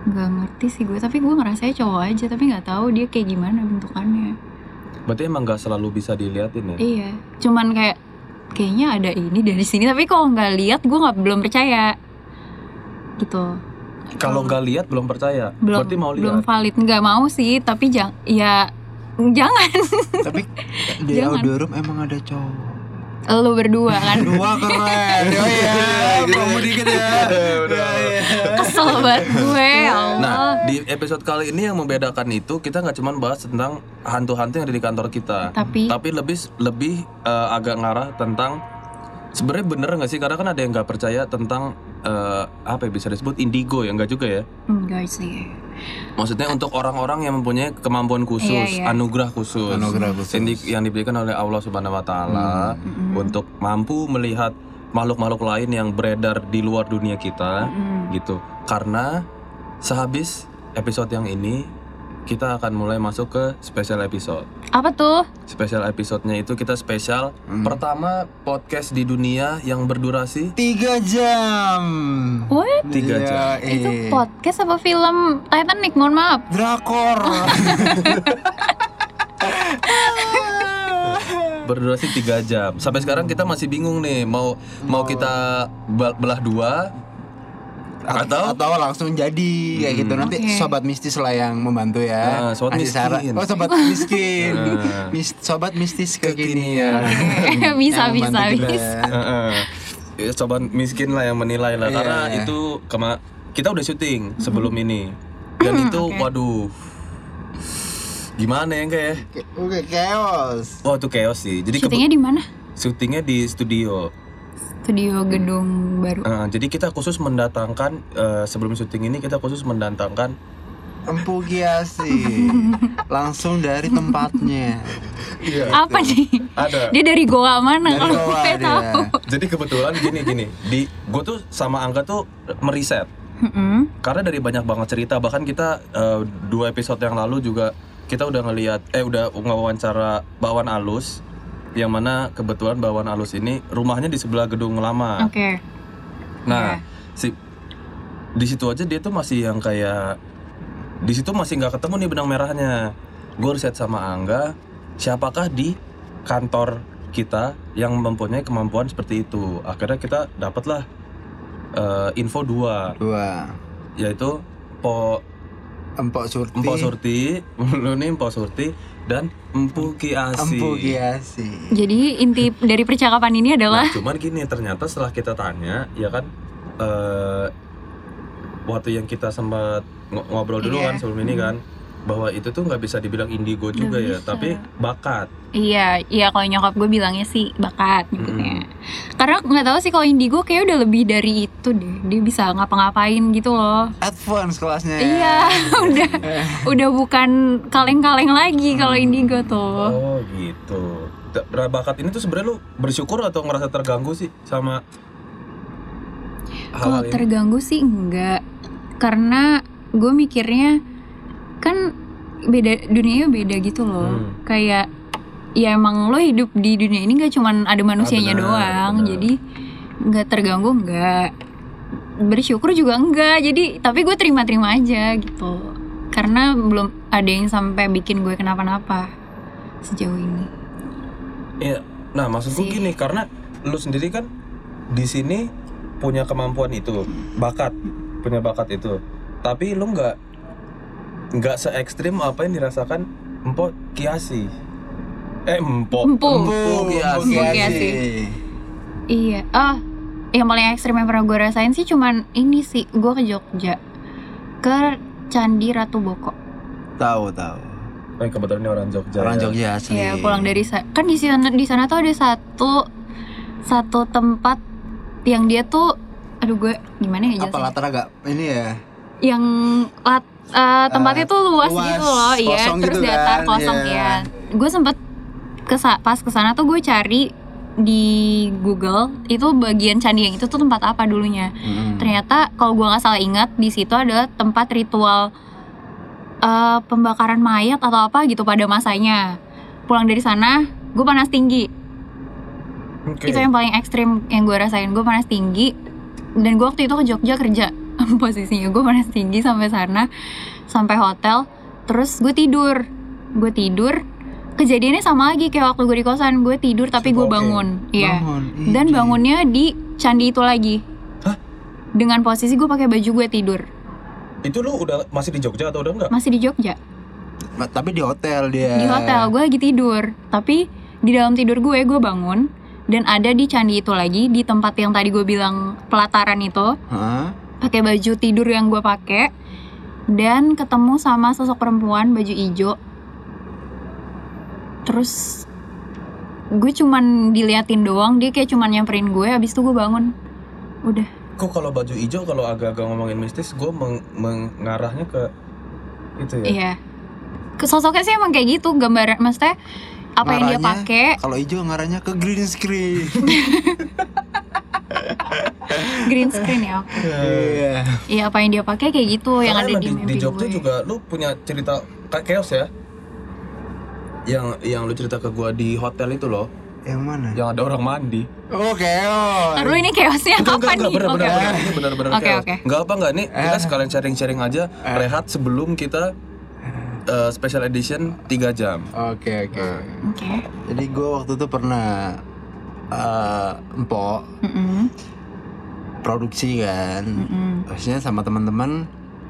C: nggak ngerti sih gue tapi gue ngerasanya cowok aja tapi nggak tahu dia kayak gimana bentukannya
A: Berarti emang nggak selalu bisa diliatin ya?
C: Iya, cuman kayak kayaknya ada ini dari sini tapi kalau nggak lihat gue nggak belum percaya gitu.
A: Kalau nggak lihat belum percaya.
C: belum
A: Berarti mau
C: belum
A: lihat.
C: valid nggak mau sih tapi jangan ya jangan
B: Tapi di
C: Jangan.
B: Audorum emang ada cowok.
C: lu berdua kan
B: Dua keren. Oh iya, promo dikit ya. Iya, Udah.
C: kesel banget gue ya Allah
A: Nah, di episode kali ini yang membedakan itu kita nggak cuma bahas tentang hantu-hantu yang ada di kantor kita,
C: tapi
A: tapi lebih lebih eh, agak ngarah tentang sebenarnya bener nggak sih? Karena kan ada yang nggak percaya tentang eh, apa ya, bisa disebut indigo ya nggak juga ya?
C: enggak sih
A: Maksudnya untuk orang-orang yang mempunyai kemampuan khusus,
C: Iya, iya.
A: anugerah khusus,
B: Anugerah khusus. Hmm,
A: yang, di- yang diberikan oleh Allah Subhanahu Wa Taala
C: Mm-mm.
A: untuk mampu melihat makhluk-makhluk
C: Hmm,
A: lain yang beredar di luar dunia kita
C: Mm-mm.
A: gitu karena sehabis episode yang ini kita akan mulai masuk ke special episode.
C: Apa tuh?
A: Special episode-nya itu kita spesial
B: Hmm.
A: pertama podcast di dunia yang berdurasi
B: Tiga jam.
C: What?
A: Tiga
B: Iya,
A: jam.
B: eh.
C: Itu podcast apa film Titanic? Mohon maaf.
B: Drakor.
A: berdurasi 3 jam. Sampai sekarang kita masih bingung nih mau mau kita bel- belah dua atau
B: atau langsung jadi kayak gitu nanti
C: Oke.
B: sobat mistis lah yang membantu ya
A: Nah, sobat
B: Ngasih
A: miskin.
B: saran. oh sobat miskin
A: Nah.
B: Mis- sobat mistis
A: Kekinian.
B: Ah. kekinian
C: Bisa,
B: Yang
C: bisa,
B: membantu kita.
C: bisa.
A: Heeh. Ya, coba miskin lah yang menilai lah
B: Iya.
A: karena itu kema kita udah syuting sebelum ini dan itu waduh gimana ya kayak
B: Ke- Oke, chaos
A: wah itu chaos sih jadi kebe-
C: Syutingnya di mana?
A: syutingnya di studio
C: Studio gedung baru.
A: Eh, jadi kita khusus mendatangkan eh, sebelum syuting ini kita khusus mendatangkan
B: Empu Giasi langsung dari tempatnya
C: Apa nih?
A: ada
C: Dia dari Goa mana?
B: dari
C: Nah, Kalau
B: bawah
C: gue
B: dia
C: tahu.
A: jadi kebetulan gini gini di gue tuh sama angga tuh meriset
C: Mm-mm.
A: karena dari banyak banget cerita bahkan kita eh, dua episode yang lalu juga kita udah ngelihat eh udah wawancara Bawan Alus yang mana kebetulan Bawan Alus ini rumahnya di sebelah gedung lama.
C: Oke.
A: Nah, si di situ aja dia tuh masih yang kayak di situ masih nggak ketemu nih benang merahnya. Gue riset sama Angga, siapakah di kantor kita yang mempunyai kemampuan seperti itu. Akhirnya kita dapatlah eh, info dua,
B: dua
A: yaitu po
B: Empok Surti
A: Empok Surti, lu nih Empok Surti dan Empu Ki Asi.
B: Empu Giasi
C: Jadi inti dari percakapan ini adalah
A: Nah, cuman gini ternyata setelah kita tanya, ya kan eh waktu yang kita sempat ngo- ngobrol dulu
C: Iya.
A: kan sebelum ini kan bahwa itu tuh nggak bisa dibilang indigo
C: Nggak
A: juga ya,
C: bisa.
A: tapi bakat.
C: Iya, iya kalau nyokap gue bilangnya sih bakat nyebutnya.
A: Mm-mm.
C: Karena nggak tahu sih kalau indigo kayak udah lebih dari itu deh. Dia bisa ngapa-ngapain gitu loh.
B: advance kelasnya
C: Iya, udah udah bukan kaleng-kaleng lagi kalau indigo tuh.
A: Hmm. Oh, gitu. T- Bakat ini tuh sebenarnya lu bersyukur atau ngerasa terganggu sih sama
C: Kalau
A: hal ini?
C: terganggu sih enggak. Karena gue mikirnya kan beda dunianya beda gitu loh.
A: Hmm.
C: Kayak ya emang lo hidup di dunia ini gak cuman ada
A: Ah,
C: manusianya
A: benar,
C: doang.
A: benar.
C: Jadi nggak terganggu enggak. Bersyukur juga enggak. Jadi tapi gue terima-terima aja gitu. Karena belum ada yang sampai bikin gue kenapa-napa sejauh ini.
A: Iya. Nah, maksudku
C: Sih.
A: gini karena lu sendiri kan di sini punya kemampuan itu, bakat, punya bakat itu. Tapi lu nggak nggak se ekstrim apa yang dirasakan empok kiasi. Eh, empok.
C: Empu.
B: Empu
A: Giasi.
B: Giasi
C: Iya. Oh, yang paling ekstrim yang pernah gue rasain sih cuman ini sih. Gue ke Jogja. Ke Candi Ratu Boko.
B: tahu tahu
A: Eh, kebetulan ini orang Jogja.
B: orang
A: ya.
B: Jogja asli
C: Iya, pulang dari sa- kan di sana di sana tuh ada satu satu tempat yang dia tuh aduh gue gimana
B: apa
C: ya jelasin?
B: latar agak ini ya
C: Yang lat, eh, tempatnya tuh luas,
B: luas,
C: gitu loh, iya.
B: kosong
C: Terus
B: gitu
C: datar
B: kan,
C: kosong
B: iya.
C: ya. Gue sempet kesa- pas kesana tuh gue cari di Google itu bagian candi yang itu tuh tempat apa dulunya. Ternyata kalau gua nggak salah ingat di situ adalah tempat ritual eh, pembakaran mayat atau apa gitu pada masanya. Pulang dari sana, gue panas tinggi.
A: Oke.
C: Itu yang paling ekstrim yang gue rasain. Gue panas tinggi dan gue waktu itu ke Jogja kerja posisinya gue panas tinggi sampai sana sampai hotel terus gue tidur gue tidur kejadiannya sama lagi kayak waktu gue di kosan gue tidur tapi gue
A: Oke.
C: bangun iya
B: Bangun, ih,
C: dan
B: gila.
C: bangunnya di candi itu lagi.
A: Hah?
C: Dengan posisi gue pakai baju gue tidur,
A: Itu lu udah masih di Jogja atau udah enggak?
C: masih di Jogja,
B: Ma- tapi di hotel dia
C: di hotel gue lagi tidur. Tapi di dalam tidur gue gue bangun dan ada di candi itu lagi di tempat yang tadi gue bilang pelataran itu,
B: Hah?
C: pakai baju tidur yang gue pakai dan ketemu sama sosok perempuan baju ijo. Terus gue cuman diliatin doang, dia kayak cuman nyamperin gue, abis itu gue bangun. Udah.
A: Kok kalau baju hijau kalau agak-agak ngomongin mistis, gue meng- mengarahnya ke itu ya.
C: Iya. Ke- Sosoknya sih emang kayak gitu gambaran maksudnya apa yang dia
B: Warnanya
C: pakai
B: kalau hijau ngaranya ke green screen
C: green screen ya oke.
B: Iya.
C: Iya apa yang dia pakai kayak gitu yang ada
D: Karena
C: di,
D: emang
C: mimpi
D: di Jogja
C: gue.
D: juga lu punya cerita kayak chaos ya yang yang lu cerita ke gua di hotel itu loh
B: Yang mana?
D: yang ada orang mandi
B: Oke, oh.
C: Aduh ini chaosnya
D: Enggak,
C: Eh, apa
D: enggak,
C: nih?
D: enggak, bener,
C: Oke,
D: bener,
C: oke.
D: bener, ini bener, bener
C: Oke,
D: chaos.
C: oke. Eh.
D: Enggak apa enggak, nih kita sekalian sharing-sharing aja rehat sebelum kita eh, special edition 3 jam
B: Oke, oke.
C: Oke.
B: Jadi gue waktu itu pernah eh empok
C: Mm-mm,
B: produksi kan.
C: mm-mm.
B: Pastinya sama teman-teman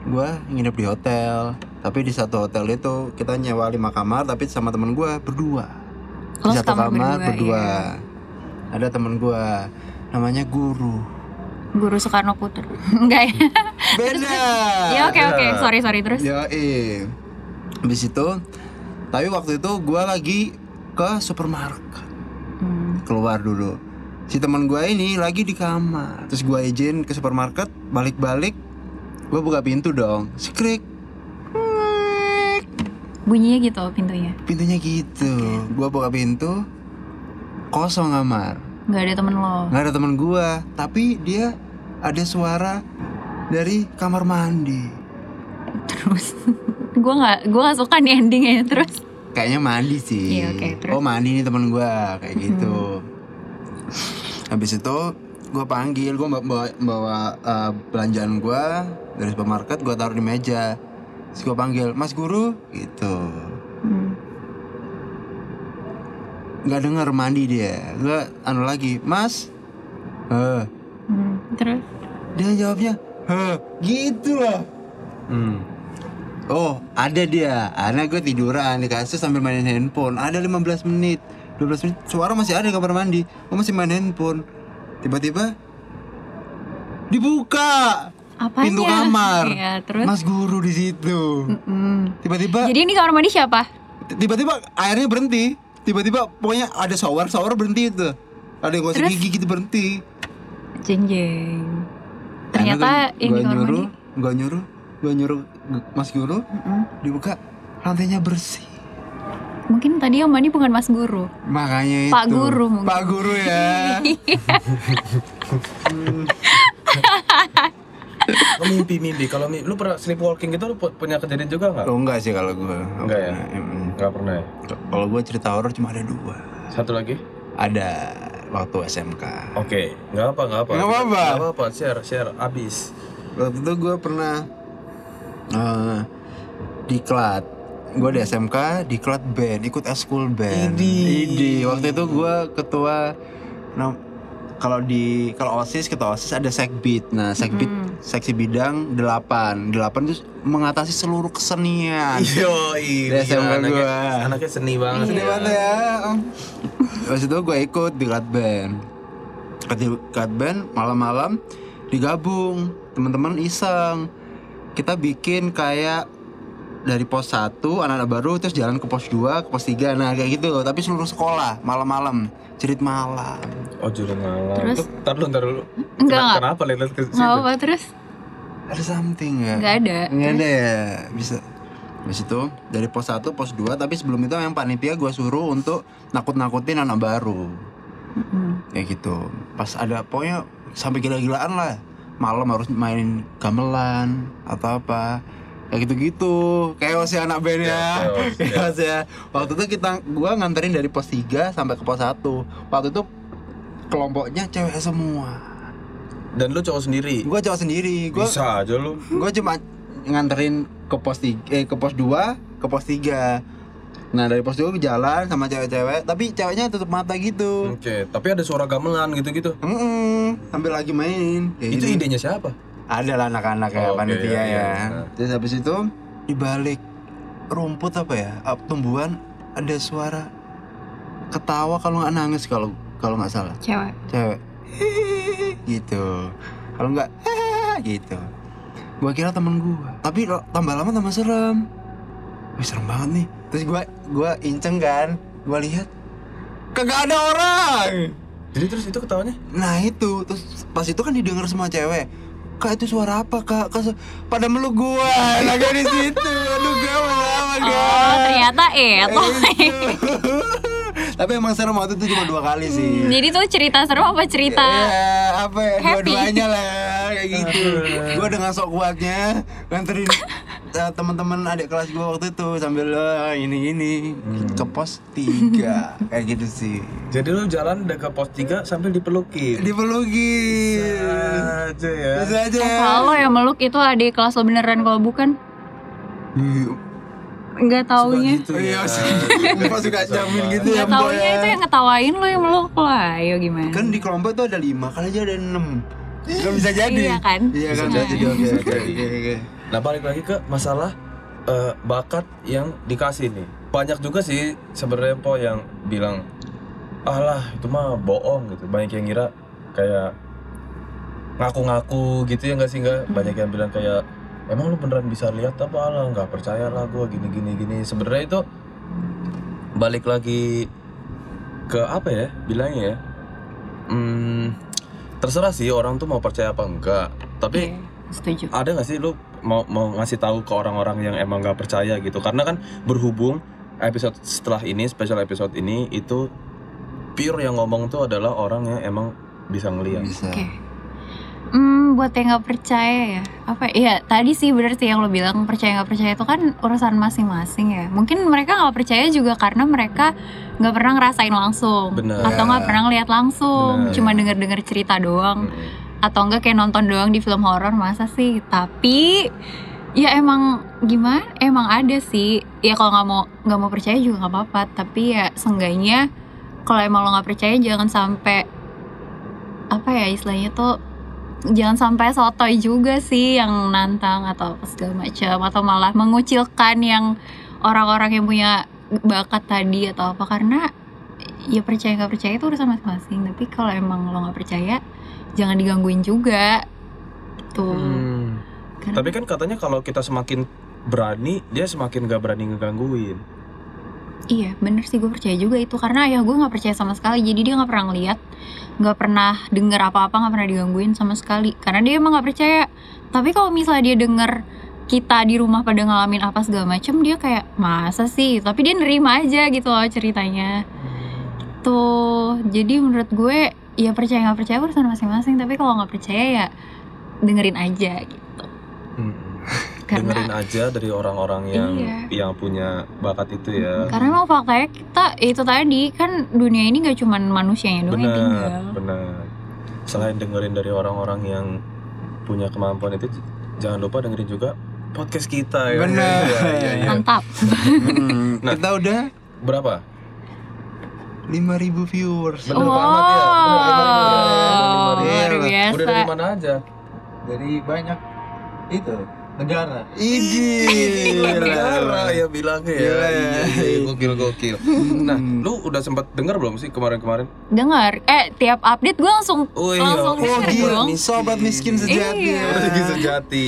B: gue nginep di hotel. Tapi di satu hotel itu kita nyewa lima kamar tapi sama teman gue berdua.
C: Lo
B: di satu
C: Oh,
B: kamar
C: sama berdua, iya.
B: berdua. Ada teman gue namanya guru.
C: Guru Soekarno Putro. Enggak ya?
B: Beda.
C: Ya oke oke. Sorry sorry terus.
B: Ya eh. Habis itu tapi waktu itu gue lagi ke supermarket.
C: Hmm,
B: keluar dulu si teman gue ini lagi di kamar terus gue izin ke supermarket balik-balik gue buka pintu dong sekrik Krik.
C: Bunyinya gitu pintunya.
B: pintunya gitu gue buka pintu kosong kamar
C: Enggak ada temen lo.
B: nggak ada teman gue tapi dia ada suara dari kamar mandi
C: Terus gue nggak gue nggak suka nih endingnya terus.
B: kayaknya mandi sih
C: Iya, oke, terus? Hmm.
B: oh mandi nih teman gue kayak gitu habis itu gue panggil gue bawa, bawa eh, belanjaan gue dari supermarket gue taruh di meja terus gue panggil mas guru gitu
C: Hmm.
B: nggak dengar mandi dia gue anu lagi mas eh
C: hmm, Terus
B: dia jawabnya heh gitu loh Oh, ada dia. Anak gue tiduran di kasur sambil mainin handphone. Ada 15 menit. 12 menit. Suara masih ada di kamar mandi. Gue masih main handphone. Tiba-tiba dibuka
C: apanya?
B: pintu kamar.
C: Iya terus.
B: Mas guru di situ.
C: Hmm.
B: Tiba-tiba
C: Jadi ini kamar mandi siapa?
B: tiba-tiba airnya berhenti. Tiba-tiba pokoknya ada shower, shower berhenti itu. Ada yang gosok
C: Terus?
B: gigi gitu berhenti.
C: Jeng jeng. Ternyata yang di
B: gue
C: kamar mandi.
B: nyuruh, gue nyuruh, gue nyuruh Mas guru
C: Mm-mm.
B: dibuka lantainya bersih.
C: Mungkin tadi yang mandi bukan Mas Guru.
B: Makanya
C: Pak
B: itu.
C: Guru mungkin.
B: Pak Guru ya.
D: Lu mimpi-mimpi, kalau mi- lu pernah sleepwalking gitu lu pu- punya kejadian juga nggak?
B: oh, enggak sih kalau gue.
D: Enggak ya? Nggak pernah ya?
B: Kalau gue cerita horor cuma ada dua.
D: Satu lagi?
B: Ada waktu SMK.
D: Oke, nggak apa, nggak apa
B: Nggak apa-apa.
D: Nggak apa-apa, share, share, abis
B: Waktu itu gue pernah eh diklat. Gue di SMK diklat band, ikut eskul band.
D: Idih.
B: Idi. Waktu itu gue ketua nam- kalau di kalau OSIS ketua OSIS ada sekbid. Nah, sekbid
C: Mm.
B: seksi bidang 8. 8 itu mengatasi seluruh kesenian.
D: Yoi,
B: Dari
D: gila,
B: SMA
D: anaknya,
B: gua.
D: anaknya seni banget
B: Sedih
D: ya.
B: banget ya. Pas itu gue ikut di Cut Band. Ikut Di Cut Band malam-malam digabung teman-teman iseng. Kita bikin kayak dari pos 1 anak-anak baru terus jalan ke pos 2, ke pos 3 nah kayak gitu tapi seluruh sekolah malam-malam cerit malam
D: Oh juru malam Tuh,
C: Terus?
D: Ntar lu, ntar lu
C: Enggak,
D: Kena-
C: enggak.
D: Kenapa lihat ke
C: Nggak
D: situ?
C: apa terus?
B: ada something ya
C: Nggak ada.
B: Nggak ada ya bisa Habis itu dari pos 1 pos 2 tapi sebelum itu yang panitia gue suruh untuk nakut-nakutin anak baru
C: Mm-mm.
B: kayak gitu pas ada pokoknya sampai gila-gilaan lah malam harus mainin gamelan atau apa kayak gitu-gitu chaos ya anak band ya
D: Chaos, chaos,
B: chaos ya waktu itu kita gua nganterin dari pos 3 sampai ke pos 1 waktu itu kelompoknya cewek semua
D: Dan lu cowok sendiri?
B: gua cowok sendiri gua
D: Bisa aja lu
B: gue cuma nganterin ke pos tiga, eh, ke pos 2 ke pos 3 nah dari pos 2 jalan sama cewek-cewek tapi ceweknya tutup mata gitu
D: Oke, tapi ada suara gamelan gitu-gitu
B: Mm-mm, sambil lagi main Kayak
D: Itu
B: gitu.
D: idenya siapa?
B: ada lah anak-anak ya
D: Oke,
B: panitia
D: iya,
B: ya,
D: iya.
B: terus habis itu dibalik rumput apa ya ap- tumbuhan ada suara ketawa kalau nggak nangis kalau kalau nggak salah
C: Cewek.
B: cewek gitu kalau nggak gitu gua kira temen gua tapi lo- tambah lama tambah serem wih serem banget nih terus gua gua inceng kan gua lihat kagak ada orang
D: Jadi terus itu ketawanya?
B: Nah itu terus pas itu kan didengar semua cewek. Kak itu suara apa kak? Kak, su- pada meluk gua. Naga di situ. Aduh gawat amat
C: Oh
B: gak.
C: ternyata eh
B: Itu. Tapi emang serem waktu itu cuma dua kali sih.
C: Hmm, jadi tuh cerita serem apa cerita?
B: Ya, apa ya,
C: Happy.
B: dua-duanya lah kayak gitu. gue dengan sok kuatnya nganterin eh, teman-teman adik kelas gue waktu itu sambil eh, ini-ini ke pos tiga kayak gitu sih.
A: Jadi lu jalan udah ke pos 3 sambil dipelukin.
B: Dipelugin.
D: Iya.
A: Aja ya.
B: Bisa aja.
C: Eh, kalau yang meluk itu adik kelas lo beneran kalau bukan
B: Iya.
C: nggak taunya.
A: Gitu
B: Iya,
A: ya.
B: suka- suka jamin gitu ya,
C: Nggak
B: Mbak.
C: taunya itu yang ngetawain lo yang meluk lo. Ayo gimana?
B: Kan di kelompok tuh ada lima, kali aja ada enam. Gak bisa jadi.
C: Iya kan?
B: Iya kan?
D: Bisa
B: Bisa jadi.
D: jadi,
B: Oke,
D: bisa
B: oke,
D: jadi.
B: oke, oke.
A: Nah balik lagi ke masalah eh, bakat yang dikasih nih. Banyak juga sih sebenarnya po yang bilang, alah itu mah bohong gitu. Banyak yang ngira kayak ngaku-ngaku gitu ya nggak sih nggak. Banyak yang bilang kayak emang lu beneran bisa lihat apa alah nggak percaya lah gue gini gini gini. Sebenarnya itu balik lagi ke apa ya bilangnya ya. Hmm, terserah sih orang tuh mau percaya apa enggak. Tapi
C: Iya, setuju.
A: ada nggak sih lu mau mau ngasih tahu ke orang-orang yang emang nggak percaya gitu karena kan berhubung episode setelah ini special episode ini itu pure yang ngomong tuh adalah orang yang emang bisa ngeliat
B: Bisa.
C: Oke. Hmm, buat yang nggak percaya ya apa iya tadi sih bener sih yang lo bilang percaya nggak percaya itu kan urusan masing-masing ya mungkin mereka nggak percaya juga karena mereka nggak pernah ngerasain langsung
A: Bener.
C: atau nggak pernah ngeliat langsung
A: Bener.
C: cuma denger-denger cerita doang
A: Mm-mm.
C: atau enggak kayak nonton doang di film horor masa sih tapi ya emang gimana emang ada sih ya kalau nggak mau nggak mau percaya juga nggak apa-apa tapi ya seenggaknya kalau emang lo nggak percaya jangan sampai apa ya istilahnya tuh jangan sampai sotoy juga sih yang nantang atau apa segala macam atau malah mengucilkan yang orang-orang yang punya bakat tadi atau apa karena ya percaya nggak percaya itu urusan masing-masing tapi kalau emang lo nggak percaya jangan digangguin juga tuh
A: Hmm.
C: Karena-
A: tapi kan katanya kalau kita semakin berani dia semakin gak berani ngegangguin
C: Iya bener sih gue percaya juga itu karena ayah gue nggak percaya sama sekali jadi dia nggak pernah ngeliat nggak pernah denger apa-apa nggak pernah digangguin sama sekali karena dia emang nggak percaya tapi kalau misalnya dia denger kita di rumah pada ngalamin apa segala macem dia kayak masa sih tapi dia nerima aja gitu loh ceritanya tuh jadi menurut gue ya percaya nggak percaya urusan masing-masing tapi kalau nggak percaya ya dengerin aja gitu
A: Mm-mm.
C: karena
A: dengerin aja dari orang-orang yang
C: Iya.
A: yang punya bakat itu ya
C: karena emang faktanya kita itu tadi kan dunia ini nggak cuman manusianya doang yang tinggal
A: benar benar selain dengerin dari orang-orang yang punya kemampuan itu j- jangan lupa dengerin juga podcast kita ya
B: Benar.
A: Iya, iya, iya.
C: mantap
B: Hmm,
A: Nah.
B: Kita udah
A: berapa
B: 5000 viewers.
C: Oh,
A: Bener banget ya, bener banget,
C: Wow,
A: bener, bener,
C: luar
B: bener.
A: udah dari
C: biasa
A: mana aja
E: dari banyak itu negara
B: Idi.
C: Iya.
A: negara ya bilangnya ya
B: Gila ya.
A: Iya, iya, gokil gokil nah lu udah sempat denger belum sih kemarin-kemarin
C: dengar eh tiap update gue langsung
A: oh
C: Langsung
B: Oh
C: denger
B: gila,
C: dong.
B: sobat miskin sejati. ya.
C: Iya.
A: lagi sejati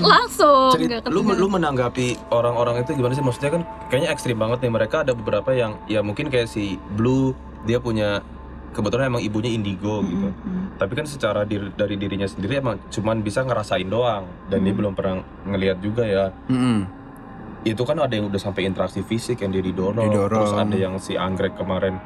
C: langsung
A: Cerit- lu lu menanggapi orang-orang itu gimana sih maksudnya kan kayaknya ekstrim banget nih mereka ada beberapa yang ya mungkin kayak si Blue dia punya kebetulan emang ibunya indigo gitu
C: Hmm.
A: tapi kan secara dir- dari dirinya sendiri emang cuman bisa ngerasain doang dan dia
C: Hmm.
A: belum pernah ngelihat juga ya
B: Mm-mm.
A: itu kan ada yang udah sampai interaksi fisik yang dia didorong,
B: Didorong.
A: terus ada yang si anggrek kemarin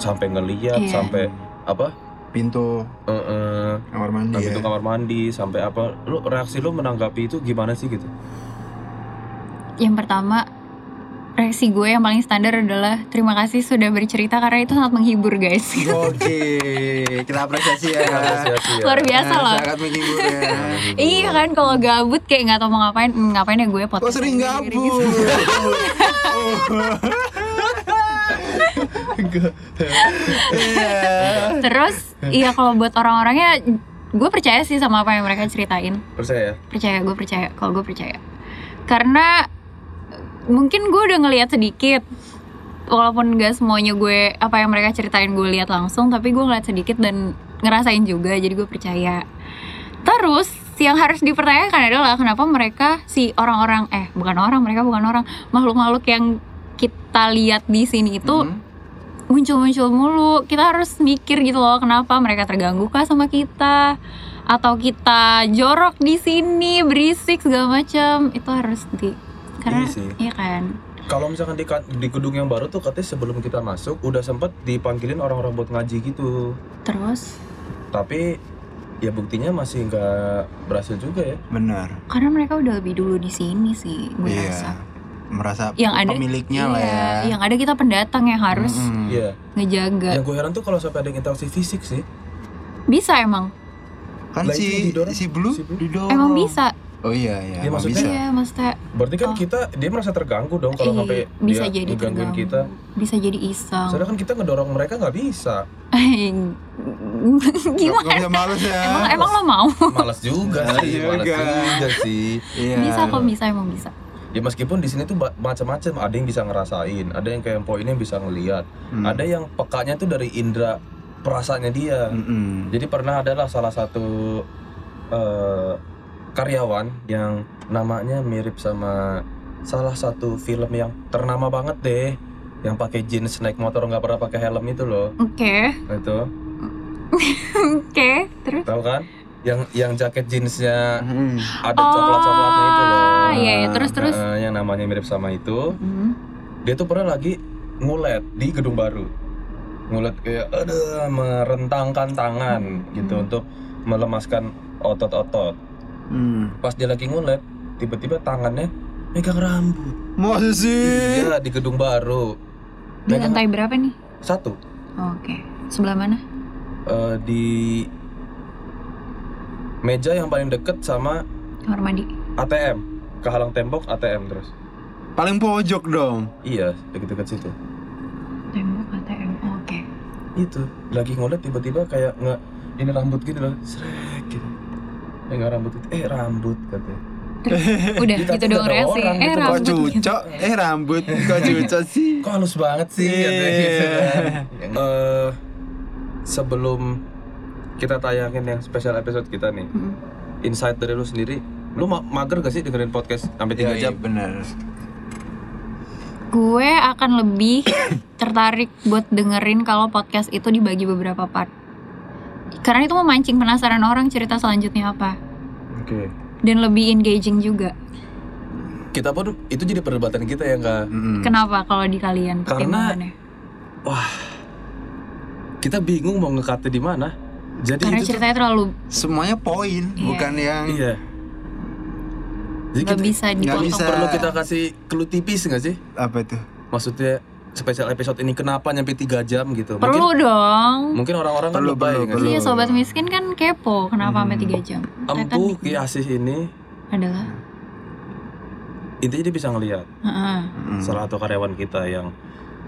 A: sampai ngeliat
C: Iya.
A: sampai apa
B: Pintu
A: eh, eh,
B: kamar mandi.
A: sampai
B: ya.
A: itu kamar mandi sampai apa lu reaksi lu menanggapi itu gimana sih gitu
C: yang pertama reaksi gue yang paling standar adalah terima kasih sudah bercerita karena itu sangat menghibur guys
A: Iya.
B: Oke, kita apresiasi ya.
A: Apresiasi ya.
C: luar biasa
B: Nah,
C: loh
B: Sangat menghibur ya.
C: iya kan kalau gabut kayak nggak tau mau ngapain hmm, ngapain ya gue
B: Kok
C: podcast
B: sering
C: aja, gini-gini.
B: gabut?
C: gitu.
B: Iya.
C: terus iya kalau buat orang-orangnya gue percaya sih sama apa yang mereka ceritain
A: percaya ya?
C: percaya gue percaya kalau gue percaya karena eh, mungkin gue udah ngelihat sedikit walaupun gak semuanya gue apa yang mereka ceritain gue lihat langsung tapi gue ngeliat sedikit dan ngerasain juga jadi gue percaya terus yang harus dipertanyakan adalah kenapa mereka si orang-orang eh bukan orang mereka bukan orang makhluk-makhluk yang kita lihat di sini itu
B: Hmm.
C: muncul-muncul mulu kita harus mikir gitu loh kenapa mereka terganggu kah sama kita atau kita jorok di sini berisik segala macam itu harus di
A: Iya
C: karena
A: sih.
C: iya kan
A: kalau misalkan di, ka- di gedung yang baru tuh katanya sebelum kita masuk udah sempet dipanggilin orang-orang buat ngaji gitu
C: Terus
A: tapi ya buktinya masih nggak berhasil juga ya
B: benar
C: karena mereka udah lebih dulu di sini sih gue rasa.
B: iya merasa
C: Yang Ya, ada
B: pemiliknya lah
C: iya,
B: ya Hmm.
C: yang ada kita pendatang yang harus
B: Mm-mm.
A: Iya,
C: ngejaga.
A: yang gue heran tuh kalau sampai ada yang interaksi fisik sih
C: Bisa emang,
B: kan
A: Lah, itu
B: si
A: didorong.
B: si blue,
A: Si Blue.
B: didorong.
C: emang bisa.
B: oh iya iya
A: Dia
B: emang
A: maksudnya-
B: bisa
C: Iya, maksudnya
A: berarti kan
C: Oh.
A: kita dia merasa terganggu dong kalau
C: Iya,
A: sampai
C: bisa
A: dia
C: jadi
A: ngegangguin
C: terganggu.
A: kita
C: bisa jadi iseng.
A: soalnya kan kita ngedorong mereka nggak bisa
C: Gimana?
B: Gak bisa males ya
C: Emang emang lo mau?
A: malas juga
B: Malas
A: sih malas
B: juga.
A: juga sih
B: Iya.
C: Bisa kok bisa emang bisa.
A: ya meskipun di sini tuh ba- macam-macam ada yang bisa ngerasain ada yang kayak poinnya bisa ngelihat
B: Hmm.
A: ada ya? yang pekanya tuh dari indera perasaannya dia
B: Mm-mm.
A: Jadi pernah adalah salah satu eh, karyawan yang namanya mirip sama salah satu film yang ternama banget deh, yang pakai jeans naik motor nggak pernah pakai helm itu loh,
C: Oke.
A: itu
C: Oke, terus
A: tahu kan? Yang yang jaket jeansnya
B: Mm-mm.
A: ada coklat-coklatnya itu loh.
C: Ah, iya, iya, terus Oh, terus.
A: Eh, yang namanya mirip sama itu,
C: Mm.
A: dia tuh pernah lagi ngulet di gedung baru, ngulet kayak ada merentangkan tangan gitu
C: Hmm.
A: untuk melemaskan otot-otot.
B: Mm.
A: pas dia lagi ngulet tiba-tiba tangannya megang rambut
B: Masa sih?
A: iya di gedung baru
C: Di
A: Megang-
C: lantai berapa nih? Oh,
A: satu
C: Oke. Sebelah mana?
A: eh, di meja yang paling deket sama
C: Kamar mandi.
A: ATM kehalang tembok ATM terus
B: Paling pojok dong.
A: iya deket-deket situ
C: Tembok ATM. Oh, Oke.
A: itu lagi ngulet tiba-tiba kayak nge ini rambut gini loh srek gitu megang rambut itu eh rambut katanya
C: Udah
A: Tapi
C: gitu
A: ada
C: doang reaksi.
A: orang
C: Eh
A: gitu,
B: Kok
C: rambut. gitu.
B: cucok? Eh rambut. Kok cucok sih?
A: kok halus banget sih katanya gitu
B: Iya.
A: kan. Eh, sebelum kita tayangin yang spesial episode kita nih
C: Mm.
A: insight dari lu sendiri lu ma- mager gak sih dengerin podcast sampai
B: Iya,
A: tiga jam
B: bener.
C: Gue akan lebih tertarik buat dengerin kalau podcast itu dibagi beberapa part. Karena itu memancing penasaran orang cerita selanjutnya apa
A: oke
C: dan lebih engaging juga.
A: kita pun itu jadi perdebatan kita ya nggak
B: Hmm.
C: Kenapa kalau di kalian
A: Karena-
C: pertimbangannya?
A: kita bingung mau ngekate di mana jadi
C: Karena
A: itu tuh-
C: ceritanya terlalu
B: Semuanya poin,
C: Iya.
B: bukan yang
A: iya jadi
C: nggak
A: kita-
C: bisa dipotong.
B: bisa.
A: perlu kita kasih clue tipis nggak sih
B: apa itu?
A: maksudnya spesial episode ini kenapa nyampe tiga jam gitu
C: Perlu
A: mungkin
C: dong.
A: mungkin orang-orang kan
B: Perlu,
A: lebay
B: perlu,
A: nggak sih?
C: Iya sobat miskin kan kepo kenapa sampai
B: Hmm.
C: tiga jam?
A: empuh Ki Asih ini
C: Adalah
A: intinya dia bisa ngelihat
C: Heeh.
B: Mm.
A: salah satu karyawan kita yang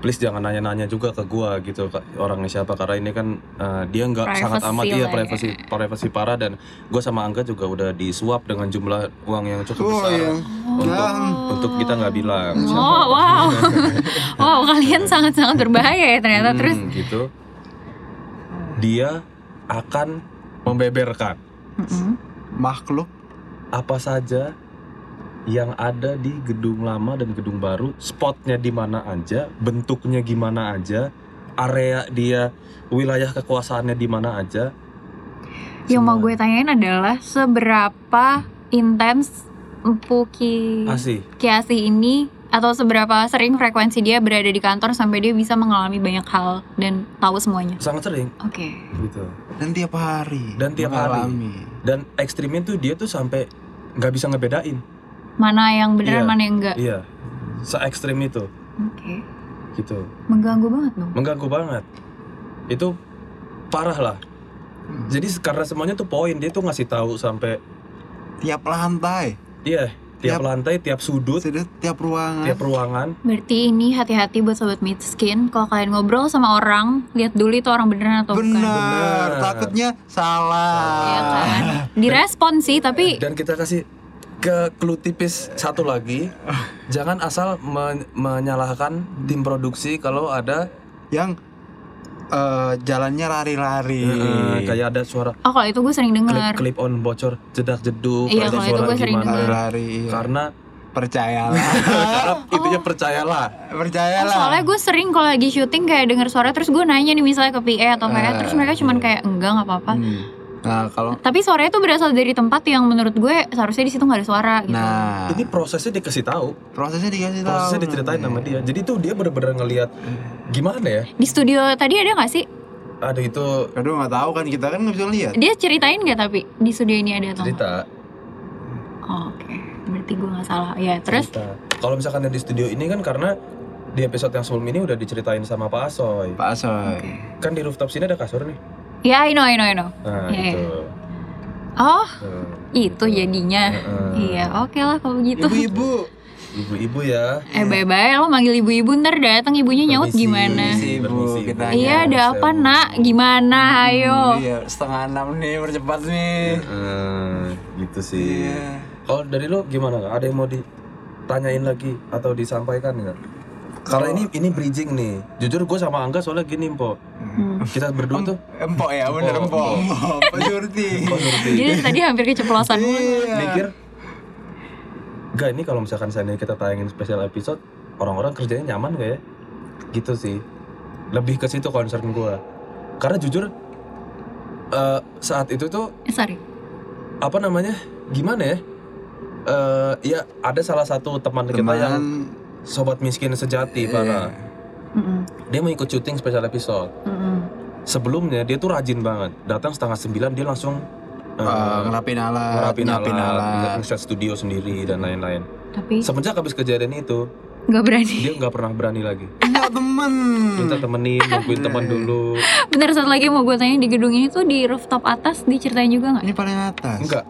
A: please jangan nanya-nanya juga ke gua gitu Kak, orangnya siapa karena ini kan eh, dia nggak
C: Privacy
A: sangat amat iya
C: lah ya.
A: privacy privacy parah dan gua sama Angga juga udah disuap dengan jumlah uang yang cukup
B: Oh,
A: besar
B: yang
A: untuk
B: yang
A: untuk kita nggak bilang
C: Oh wow, wow kalian sangat-sangat berbahaya ya ternyata.
A: Hmm,
C: Terus
A: gitu dia akan membeberkan
C: Mm-mm.
B: makhluk
A: apa saja yang ada di gedung lama dan gedung baru, spotnya di mana aja, bentuknya gimana aja, area dia, wilayah kekuasaannya di mana aja.
C: yang mau gue
A: Semua.
C: tanyain adalah seberapa intens Puki
A: Asih,
C: Kiasi ini atau seberapa sering frekuensi dia berada di kantor sampai dia bisa mengalami banyak hal dan tahu semuanya.
A: sangat sering
C: Oke.
A: gitu.
B: dan tiap hari.
A: Dan tiap hari. Dan ekstrimnya tuh dia tuh sampai nggak bisa ngebedain.
C: Mana yang beneran
A: Iya.
C: mana yang enggak?
A: Iya, se ekstrim itu
C: Oke.
A: gitu.
C: Mengganggu banget dong.
A: Mengganggu banget. Itu parah lah.
B: Hmm.
A: Jadi karena semuanya tuh poin dia tuh ngasih tahu sampai
B: Tiap lantai,
A: iya tiap
B: Tiap-
A: lantai, tiap sudut,
B: sudut tiap ruangan.
A: tiap ruangan
C: Berarti ini hati-hati buat sobat miskin. Kalau kalian ngobrol sama orang, lihat dulu itu orang beneran atau bukan.
B: Benar,
A: Benar.
B: takutnya salah.
C: kan? Iya kan? Direspon sih, tapi
A: dan kita kasih ke clue tipis satu lagi jangan asal men- menyalahkan tim produksi kalau ada
B: Yang eh, jalannya lari-lari.
A: eh, kayak ada suara
C: oh kalau itu gue sering
A: klip
C: dengar.
A: klip on bocor jedak jeduk ada
C: Iya, kalau itu
A: suara
C: gue sering
A: gimana
C: dengar.
B: lari-lari. iya.
A: karena
B: Percayalah, Eh,
A: karena intinya percayalah
C: Oh,
B: percayalah.
C: soalnya gue sering kalau lagi syuting kayak denger suara terus gue nanya nih misalnya ke PA atau kayak
B: Ah,
C: terus mereka cuman kayak enggak nggak apa-apa.
B: Hmm. Nah kalau
C: Tapi suaranya tuh berasal dari tempat yang menurut gue seharusnya di situ nggak ada suara gitu.
B: nah
A: Ini prosesnya dikasih tahu,
B: prosesnya dikasih tahu.
A: prosesnya diceritain sama dia. Jadi tuh dia bener-bener ngelihat gimana ya?
C: Di studio tadi ada nggak sih?
A: Ada itu
B: Aduh nggak tahu kan kita kan nggak bisa lihat.
C: Dia ceritain nggak tapi di studio ini ada atau nggak?
A: cerita.
C: Oh, Oke, berarti gue nggak salah. Ya terus
A: cerita. Kalau misalkan yang di studio ini kan karena di episode yang sebelum ini udah diceritain sama Pak Asoy.
B: Pak Asoy.
A: Kan di rooftop sini ada kasur nih.
C: ya I know I know I know.
A: Nah, Eh,
C: Iya,
A: itu.
C: Oh
A: Tuh.
C: itu jadinya.
A: Heeh.
C: Iya oke lah kalau gitu.
B: Ibu-ibu.
A: Ibu-ibu ya.
C: Eh bye-bye lo manggil ibu-ibu ntar datang ibunya nyaut
A: Permisi,
C: gimana?
B: Ibu,
A: permisi,
B: kita
A: Ibu.
B: tanya.
C: Iya ada apa
A: Saya- Hmm.
C: nak? Gimana? Ayo.
B: Iya setengah enam nih percepat nih.
A: Heeh, gitu sih.
B: Iya.
A: Kalau dari lo gimana? Kak? Ada yang mau ditanyain lagi atau disampaikan nggak? Karena ini ini bridging nih. Jujur gue sama Angga soalnya gini, Po.
C: Hmm.
A: Kita berdua tuh
B: Empok ya bener empok. Empok. Pak Surti.
C: Jadi tadi hampir keceplosan mulu.
B: Iya.
A: mikir Gak ini kalau misalkan seandainya kita tayangin spesial episode Orang-orang kerjanya nyaman gak ya? Gitu sih Lebih ke situ concern gua Karena jujur eh, Saat itu tuh
C: Eh, Sorry.
A: Apa namanya? Gimana ya? Eh, ya ada salah satu teman, kita yang
B: Teman
A: Sobat miskin sejati Farah.
C: Mm-mm,
A: Dia mau ikut syuting spesial episode
C: mm-mm.
A: Sebelumnya dia tuh rajin banget Datang setengah sembilan dia langsung eh,
B: eh, ngerapin alat,
A: ngerapin alat,
B: nyiapin alat.
A: nge-set studio sendiri dan lain-lain
C: Tapi
A: semenjak habis kejadian itu
C: nggak berani.
A: dia nggak pernah berani lagi
B: Punya temen. Hmm.
A: minta temenin nungguin temen dulu
C: Bener satu lagi yang mau gue tanya di gedung ini tuh di rooftop atas diceritain juga nggak?
B: Ini paling atas.
A: enggak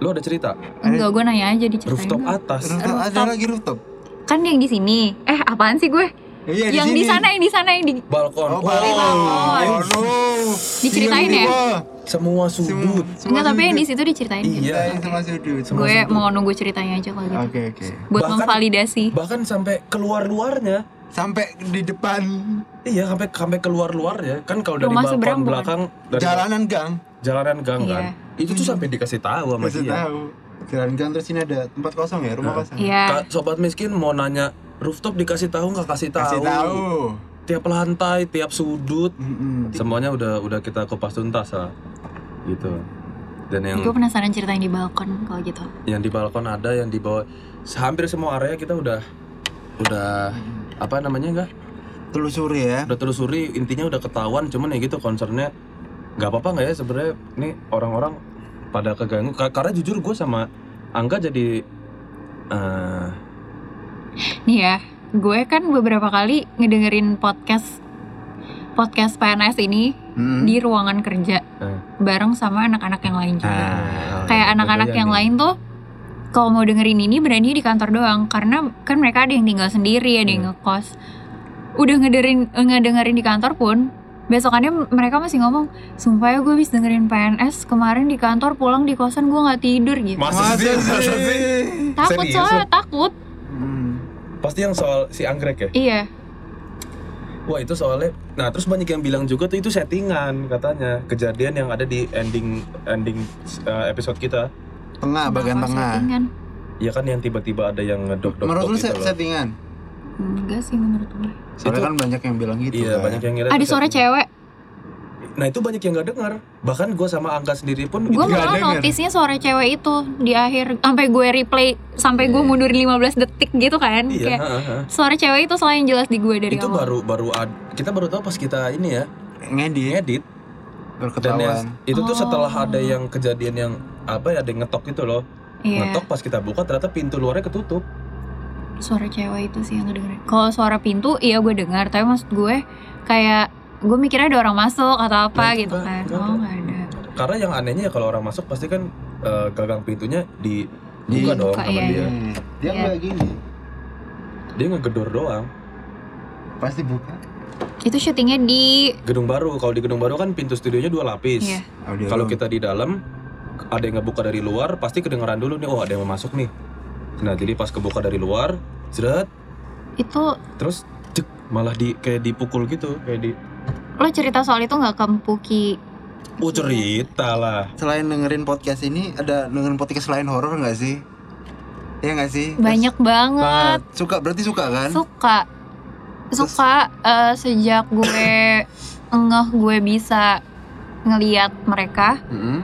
A: lo ada cerita
C: Enggak gue nanya aja diceritain.
A: rooftop
C: nggak?
A: atas
B: Rooftop, ada
C: Rooftop.
B: lagi rooftop.
C: Kan yang di sini. Eh apaan sih gue?
B: Iya
A: Eh,
C: yang di
B: sini.
C: sana yang di sana yang di
A: balkon oh,
B: Oh, balkon.
C: balkon.
B: Aduh.
C: Diceritain
B: Iya,
C: ya?
B: wah.
A: semua sudut
C: Enggak tapi yang di
B: sudut.
C: situ diceritain. gitu.
A: Iya.
B: Ceritain semua sudut. Semua
C: Gue
B: sudut.
C: mau nunggu ceritanya aja kalau gitu.
B: Oke oke.
C: Buat
A: Bahkan-
C: memvalidasi.
A: bahkan sampai keluar luarnya
B: Sampai di depan
A: iya sampai sampai keluar luarnya kan kalau dari
C: Rumah
A: balkon
C: seberang bukan?
A: belakang dari
B: jalanan gang.
A: jalanan gang
C: Iya.
A: kan itu tuh sampai dikasih tahu sama
B: Masih
A: dia
B: tahu. Jalan gang terus sini ada tempat kosong ya, rumah kosong.
C: Iya.
A: Kak, sobat miskin mau nanya rooftop dikasih tahu nggak kasih tahu
B: Kasih tahu.
A: tiap lantai tiap sudut
B: Mm-mm.
A: semuanya udah udah kita kupas tuntas lah gitu dan yang
C: Gue penasaran ceritain di balkon kalau gitu.
A: yang di balkon ada yang di bawah hampir semua area kita udah udah apa namanya enggak
B: Telusuri ya.
A: udah telusuri intinya udah ketahuan cuman ya gitu concernnya nggak apa-apa nggak ya sebenarnya ini orang-orang pada keganggu Ka- karena jujur gue sama Angga jadi eh,
C: Nih ya, gue kan beberapa kali ngedengerin podcast podcast PNS ini
B: Mm.
C: di ruangan kerja
A: Hmm.
C: bareng sama anak-anak yang lain juga.
A: eh,
C: Ah, Kayak anak-anak
A: kebayang
C: yang
A: nih.
C: lain tuh kalau mau dengerin ini berani di kantor doang karena kan mereka ada yang tinggal sendiri, ada yang
A: Hmm.
C: ngekos. Udah ngedengerin ngedengerin di kantor pun besokannya mereka masih ngomong sumpah ya gue habis dengerin PNS kemarin di kantor pulang di kosan gue nggak tidur gitu
A: masa sih masa sih
C: takut
A: serius
C: soalnya takut
B: Mm.
A: pasti yang soal si anggrek ya
C: iya
A: Wah itu soalnya, nah terus banyak yang bilang juga tuh itu settingan katanya kejadian yang ada di ending ending uh, episode kita,
B: Tengah bagian
C: Bakal
B: tengah.
C: settingan.
A: ya kan yang tiba-tiba ada yang ngedok dok
B: Menurut lu
A: gitu
B: set-
A: loh.
B: settingan?
C: Enggak sih menurut gue.
B: Soalnya
A: Itu-
B: kan banyak yang bilang gitu
A: Iya
B: kan.
A: banyak yang ngira.
C: Ada
A: itu
C: suara
A: settingan.
C: cewek.
A: Nah itu banyak yang nggak dengar, bahkan gue sama Angga sendiri pun gitu.
C: Gue
A: itu-
C: malah notisnya suara cewek itu di akhir sampai gue replay sampai gue mundur 15 detik gitu kan.
A: Iya,
C: Kayak
A: ha, ha.
C: suara cewek itu selain jelas di gue dari
A: itu
C: awal.
A: baru baru ad- kita baru tahu pas kita ini ya
B: ngedit
A: ngedit dan yang-
B: berketahuan.
A: itu tuh
C: Oh.
A: setelah ada yang kejadian yang apa ya ada yang ngetok gitu loh
C: Iya.
A: ngetok pas kita buka ternyata pintu luarnya ketutup
C: Suara cewek itu sih yang kedengeran. Kalau suara pintu iya gue dengar, tapi maksud gue kayak gue mikirnya ada orang masuk
A: Nah,
C: atau apa
A: itu
C: gitu
A: enggak,
C: kan.
A: enggak
C: Oh,
A: ada.
C: enggak ada.
A: karena yang anehnya ya kalau orang masuk pasti kan eh, gagang pintunya di buka
B: Dibuka,
A: dong sama
C: iya,
A: dia
C: iya.
B: Hmm.
E: Dia
C: Iya.
E: nggak gini,
A: dia ngegedor doang
E: pasti buka.
C: Itu syutingnya di
A: gedung baru kalau di gedung baru kan pintu studionya dua lapis
C: Iya.
B: Audio
A: kalau
B: room.
A: kita di dalam ada yang ngebuka dari luar pasti kedengeran dulu nih oh ada yang mau masuk nih nah jadi pas kebuka dari luar seret
C: itu
A: terus cek malah di kayak dipukul gitu kayak di
C: lo cerita soal itu nggak ke Mpuki?
A: oh cerita lah
B: selain dengerin podcast ini ada dengerin podcast lain horor nggak sih? Iya nggak sih?
C: Banyak banget.
B: Suka berarti suka kan?
C: suka
B: Terus-
C: suka eh, sejak gue ngeh gue bisa ngeliat mereka
B: Mm-mm.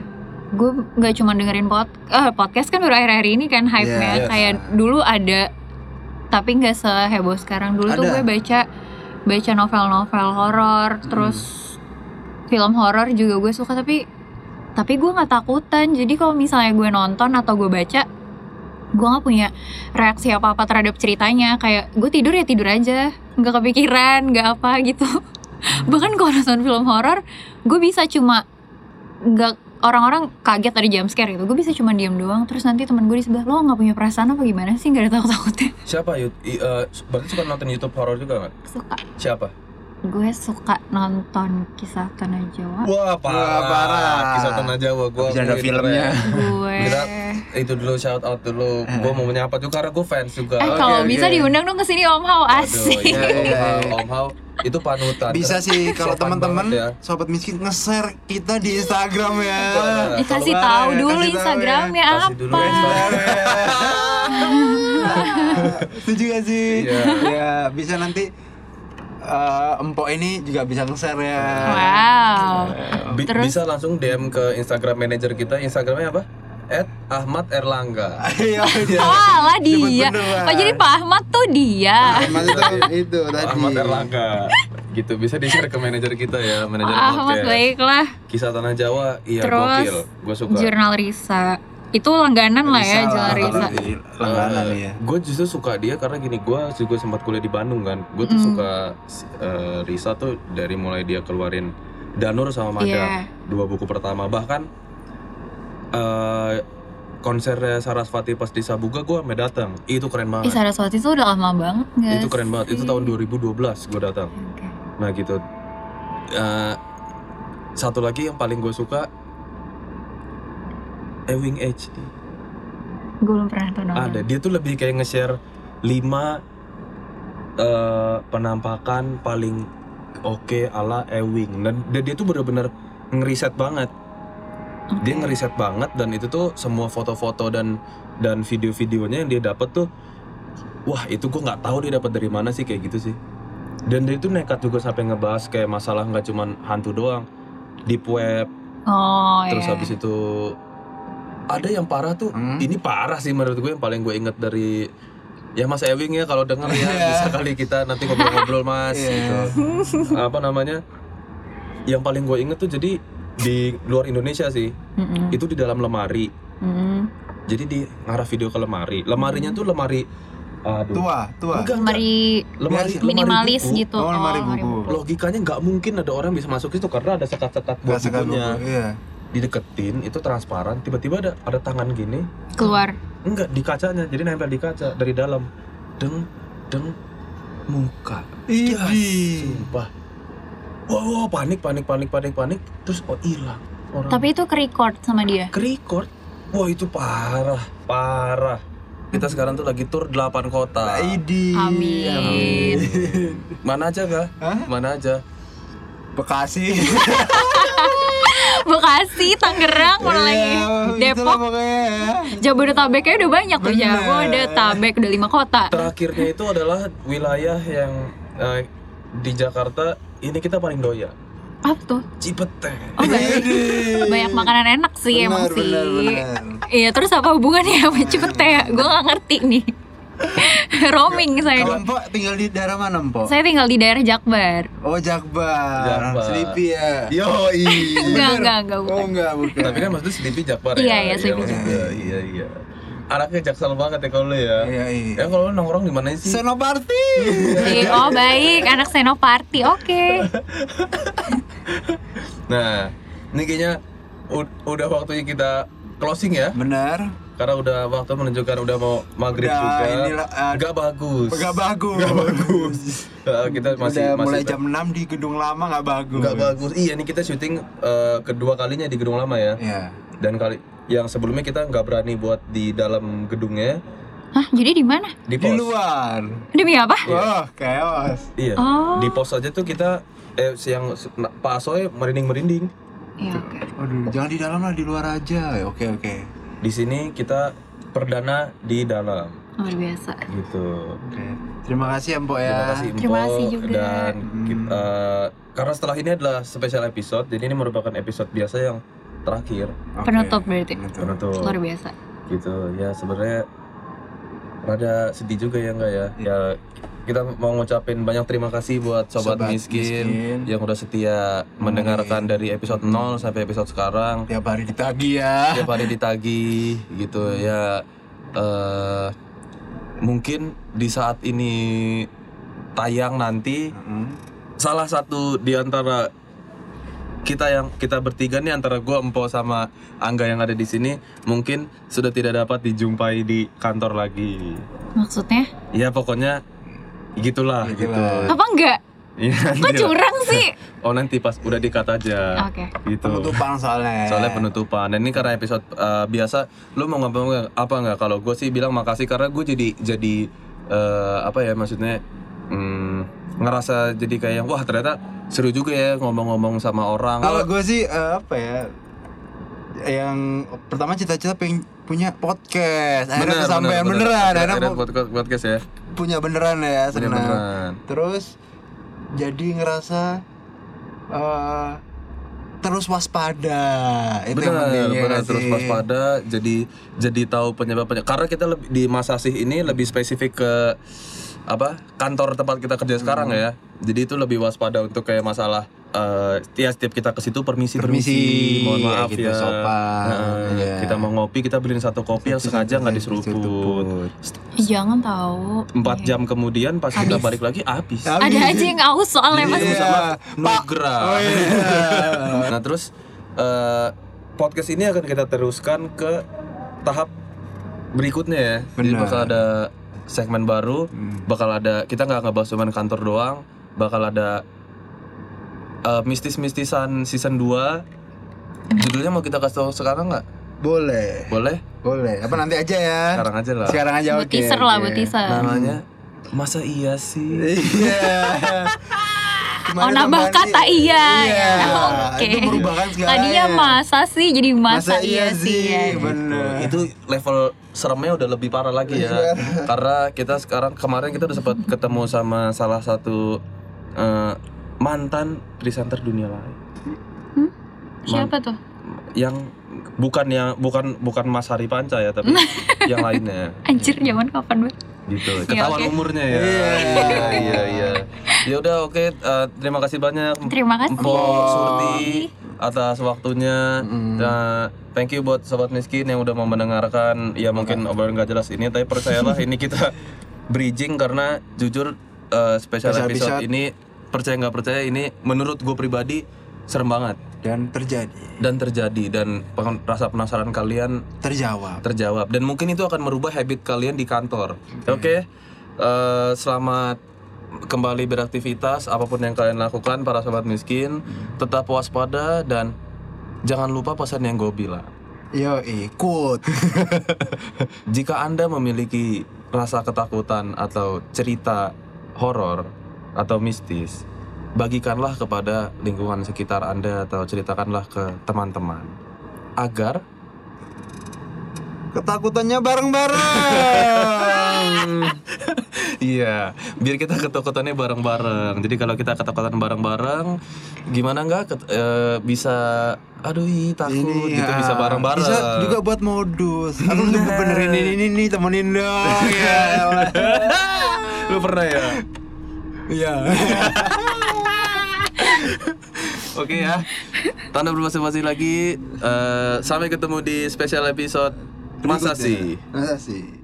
C: gue nggak cuma dengerin pod eh, podcast kan baru akhir-akhir ini kan hype nya
B: Yes.
C: kayak dulu ada tapi nggak seheboh sekarang dulu tuh
B: Ada.
C: gue baca baca novel-novel horor terus film horor juga gue suka tapi tapi gue nggak takutan jadi kalau misalnya gue nonton atau gue baca gue nggak punya reaksi apa apa terhadap ceritanya kayak gue tidur ya tidur aja nggak kepikiran nggak apa gitu bahkan kalau nonton film horor gue bisa cuma nggak orang-orang kaget dari jump scare gitu gue bisa cuma diam doang terus nanti teman gue di sebelah lo nggak punya perasaan apa gimana sih nggak ada takut-takutnya
A: Siapa? Yud? I- eh, berarti suka nonton YouTube horor juga kan?
C: suka
A: Siapa?
C: gue suka nonton kisah tanah Jawa
A: Wah
B: Wah, parah.
A: Kisah Tanah Jawa gue
B: Bisa ada filmnya. Eh.
C: gue
A: Kita- Itu dulu shout out dulu Gue mau menyapa juga karena gue fans juga
C: eh
B: Oke,
C: kalau
B: oke.
C: bisa diundang dong ke sini Om Hao
A: Aduh,
C: asik
A: iya,
B: Iya,
A: Om
B: iya,
A: Hao,
B: iya.
A: Om Hao itu panutan.
B: Bisa sih kalau
A: Sopan
B: teman-teman
A: banget ya. Iya.
B: sobat miskin nge-share kita di Instagram ya.
C: Eh, kasih tahu dulu Instagramnya
A: ya. Kasih dulu
C: apa
A: Instagram.
B: Setuju gak sih?
A: Iya.
B: Ya, bisa nanti eh, empok ini juga bisa nge-share ya.
A: Iya.
C: wow
A: Bi-
C: Terus?
A: Bisa langsung DM ke Instagram manajer kita. Instagramnya apa? At Ahmad Erlangga.
B: Iya, iya.
C: oh lah
B: Nyebut
C: dia
B: beneran.
C: oh jadi Pak Ahmad tuh dia
B: Ahmad itu,
A: Iya.
B: itu tadi.
A: Ahmad Erlangga. gitu bisa di share ke manajer kita ya, manajer
C: Pak Ah, Ahmad
A: podcast.
C: baiklah
A: Kisah Tanah Jawa, iya
C: Terus,
A: gokil. Gue suka.
C: jurnal Risa itu langganan lah ya jurnal Risa
B: Langganan ya.
A: gue Eh, justru suka dia karena gini gue juga sempat kuliah di Bandung kan gue tuh
C: Mm.
A: suka eh, Risa tuh dari mulai dia keluarin Danur sama Mada
C: Iya.
A: dua buku pertama bahkan eh konsernya Sarasvati pas di Sabuga gue sampai datang itu keren
C: Ih,
A: banget
C: Saraswati tuh udah lama banget nggak
A: itu keren banget itu
C: sih?
A: tahun 2012 gue datang
C: Oke.
A: nah gitu Eh, satu lagi yang paling gue suka Ewing HD
C: Gue belum pernah tuh nonton.
A: ada dia tuh lebih kayak nge-share lima eh, penampakan paling oke ala Ewing dan dia, dia tuh bener-bener ngeriset banget
C: Oke.
A: dia ngeriset banget dan itu tuh semua foto-foto dan dan video-videonya yang dia dapat tuh wah itu gua nggak tahu dia dapat dari mana sih kayak gitu sih dan dia tuh nekat juga sampai ngebahas kayak masalah nggak cuman hantu doang deep web
C: Oh
A: terus
C: iya.
A: habis itu ada yang parah tuh
B: Hmm?
A: ini parah sih menurut gue yang paling gue inget dari ya Mas Ewing ya kalau denger ya
B: Iya.
A: bisa kali kita nanti ngobrol-ngobrol Mas
B: Iya.
A: gitu. Apa namanya? Yang paling gue inget tuh jadi di luar Indonesia sih.
C: Mm-mm.
A: Itu di dalam lemari.
C: Mm-mm.
A: Jadi di ngarah video ke lemari. Lemarinya tuh lemari aduh.
B: Tua, tua.
A: Enggak, enggak.
C: Lemari
A: Lemari
B: biasa.
A: lemari
C: minimalis
A: buku.
C: gitu.
B: Oh, lemari buku.
A: Logikanya nggak mungkin ada orang bisa masuk situ karena ada sekat-sekat buat
B: Rasakan
A: bukunya.
B: buku, Iya.
A: Dideketin itu transparan, tiba-tiba ada ada tangan gini
C: Keluar.
A: Enggak di kacanya, jadi nempel di kaca dari dalam. Deng deng muka.
B: Iya.
A: Gas, Sumpah. Wow, wow, panik panik panik panik panik terus oh hilang orang.
C: Tapi itu ke record sama dia.
A: ke record. Wah, itu parah, parah. Kita sekarang tuh lagi tour 8
B: Nah,
A: kota.
B: Idi.
C: Amin.
A: Mana aja kah?
B: Hah?
A: Mana aja?
B: Bekasi.
C: Bekasi, Tangerang, mana lagi?
B: Iya, itulah
C: Depok,
B: pokoknya ya.
C: Jabodetabeknya udah banyak tuh.
B: Bener.
C: Jabodetabek udah lima kota.
A: Terakhirnya itu adalah wilayah yang eh, di Jakarta ini kita paling doya.
C: Apa tuh?
A: Cipete.
C: Oh,
B: Iya,
C: banyak,
B: gitu.
C: banyak makanan enak sih emang
B: Benar, benar,
C: sih.
B: benar.
C: Iya, terus apa hubungannya sama Cipete ya? Gue gak ngerti nih. Roaming saya.
B: Kalau
C: nih.
B: Mpok tinggal di daerah mana Mpok?
C: Saya tinggal di daerah Jakbar.
B: Oh Jakbar,
A: Jakbar.
B: Sleepy ya.
A: Yoi.
C: Iya. Enggak, enggak, enggak.
B: Oh enggak bukan.
A: Tapi kan maksudnya Sleepy Jakbar
C: Iya, iya,
A: ya.
C: Sleepy
A: maksud gue, Iya, iya. Anaknya jaksel banget ya kalau lu ya.
B: Iya iya.
A: Ya kalau lu nongkrong di mana sih?
B: Senoparty.
C: Iya, oh baik, anak senoparti, oke.
A: Nah, ini kayaknya ud- udah waktunya kita closing ya.
B: Benar.
A: Karena udah waktu menunjukkan udah mau maghrib
B: Udah,
A: juga.
B: inilah, eh,
A: Gak bagus.
B: Enggak bagus.
A: Nggak bagus. Eh, kita masih
B: Udah
A: masih
B: mulai jam 6 di gedung lama nggak bagus.
A: Nggak bagus. Iya, ini kita syuting eh, kedua kalinya di gedung lama ya.
B: Iya.
A: Dan kali yang sebelumnya kita nggak berani buat di dalam gedungnya
C: Hah, jadi di mana?
A: di Iya.
B: Di
A: pos.
B: luar.
C: Demi apa?
B: Wah, chaos.
A: Iya.
C: Oh.
A: Di pos aja tuh kita eh siang Pak Soe merinding-merinding.
C: Iya, oke.
B: Aduh, jangan di dalam lah, di luar aja. Oke, oke.
A: Di sini kita perdana di dalam.
C: luar biasa
A: gitu
B: Oke. Terima kasih ya, Mbok ya.
A: Terima kasih Mpo
C: Iya, Terima kasih juga.
A: dan
B: Hmm.
A: kita- eh, karena setelah ini adalah special episode, jadi ini merupakan episode biasa yang terakhir
B: Oke.
C: penutup berarti
B: Penutup.
A: penutup
C: luar biasa
A: gitu. Ya sebenarnya rada sedih juga ya enggak ya. Ya kita mau ngucapin banyak terima kasih buat sobat, miskin, yang udah setia mendengarkan dari episode 0 sampai episode sekarang.
B: Tiap hari ditagi ya.
A: tiap hari ditagi gitu ya eh mungkin di saat ini tayang nanti
B: Mm.
A: salah satu di antara kita yang kita bertiga nih antara gua Empo sama Angga yang ada di sini mungkin sudah tidak dapat dijumpai di kantor lagi.
C: maksudnya
A: Ya pokoknya gitulah
B: Gitulah.
A: gitu.
C: apa enggak
A: Iya,
C: kok
A: nanti lah.
C: curang sih
A: oh nanti pas udah dikat aja
C: oke
A: gitu.
B: Penutupan soalnya.
A: soalnya penutupan dan ini karena episode uh, biasa lu mau ngomong nggak- apa nggak kalau gue sih bilang makasih karena gue jadi jadi uh, apa ya maksudnya mm, ngerasa jadi kayak wah ternyata seru juga ya ngomong-ngomong sama orang
B: Kalau gue sih eh, apa ya? Yang pertama cita-cita pengen punya podcast. Akhirnya kesampaian beneran.
A: Iya,
B: Akhirnya
A: Akhirnya
B: pu-
A: podcast, podcast ya
B: punya beneran ya,
A: Bener
B: senang.
A: beneran
B: Terus jadi ngerasa eh terus waspada. Itu yang
A: benar
B: penting, ya
A: benar
B: nggak
A: terus
B: sih?
A: waspada jadi jadi tahu penyebab penyebab karena kita lebih, di masasih ini lebih spesifik ke apa kantor tempat kita kerja sekarang
B: Hmm.
A: ya jadi itu lebih waspada untuk kayak masalah eh ya setiap kita ke situ permisi, permisi
B: Permisi,
A: mohon
B: ya
A: maaf
B: gitu,
A: ya
B: sopan,
A: Heeh,
B: ya.
A: kita mau ngopi kita beliin satu kopi yang sengaja nggak diseruput
B: Seruput.
C: Ih, jangan tahu
A: empat jam kemudian pas kita
C: Iya. Habis.
A: balik lagi habis
B: Habis.
C: ada aja yang aus soalnya mas
B: Iya.
A: sama
B: Pak.
A: Nugra.
B: Oh, iya.
A: nah terus eh, podcast ini akan kita teruskan ke tahap berikutnya ya. Jadi
B: Benar.
A: bakal ada segmen baru,
B: Hmm.
A: bakal ada kita nggak ngebahas cuman kantor doang, bakal ada eh, mistis-mistisan season 2 Judulnya mau kita kasih tahu sekarang nggak?
B: Boleh,
A: Boleh?
B: boleh. Apa nanti aja ya?
A: Sekarang aja lah.
B: Sekarang aja
C: buat
B: oke.
C: teaser lah
B: oke.
C: buat teaser
A: Namanya masa iya sih?
B: Iya. Kemarin
C: Oh, nambah
B: tambahan
C: kata iya,
B: Iya.
C: ya. Oke. ya,
B: Itu iya. merupakan segala. ya.
C: tadinya masa sih jadi masa, iya sih ya.
B: Bener.
A: Gitu. itu level seremnya udah lebih parah lagi ya karena kita sekarang kemarin kita udah sempat ketemu sama salah satu eh, mantan presenter dunia lain
C: siapa tuh
A: yang bukan yang bukan bukan Mas Hari Panca ya tapi yang lainnya
C: anjir zaman kapan banget
A: gitu
C: Ya,
A: ketahuan
C: oke.
A: umurnya ya iya iya iya ya udah oke eh, terima kasih banyak
C: terima kasih
A: Mpo Surti atas waktunya Nah, thank you buat sobat miskin yang udah mau mendengarkan ya mungkin obrolan gak jelas ini tapi percayalah ini kita bridging karena jujur eh, special,
B: Special
A: episode,
B: episode.
A: ini percaya nggak percaya ini menurut gue pribadi serem banget
B: Dan terjadi,
A: dan terjadi dan pengen- rasa penasaran kalian
B: terjawab.
A: terjawab dan mungkin itu akan merubah habit kalian di kantor. Oke. Eh, selamat kembali beraktivitas apapun yang kalian lakukan para sobat miskin, tetap waspada dan jangan lupa pesan yang gue bilang.
B: Yo, ikut.
A: Jika Anda memiliki rasa ketakutan atau cerita horor atau mistis, bagikanlah kepada lingkungan sekitar Anda atau ceritakanlah ke teman-teman agar
B: Ketakutannya bareng-bareng.
A: Iya, biar kita ketakutannya bareng-bareng. Jadi kalau kita ketakutan bareng-bareng, gimana nggak ket- eh, bisa, aduh ih, takut
B: Ini
A: gitu
B: ya.
A: bisa bareng-bareng.
B: Bisa juga buat modus. Iya. Aku tuh benerin ini ini, ini temenin dong. Ya. elah.
A: Lu pernah ya?
B: Iya.
A: Oke ya. Tanda bermasing-masing lagi. Eh, sampai ketemu di special episode masa sih.
B: Masa sih?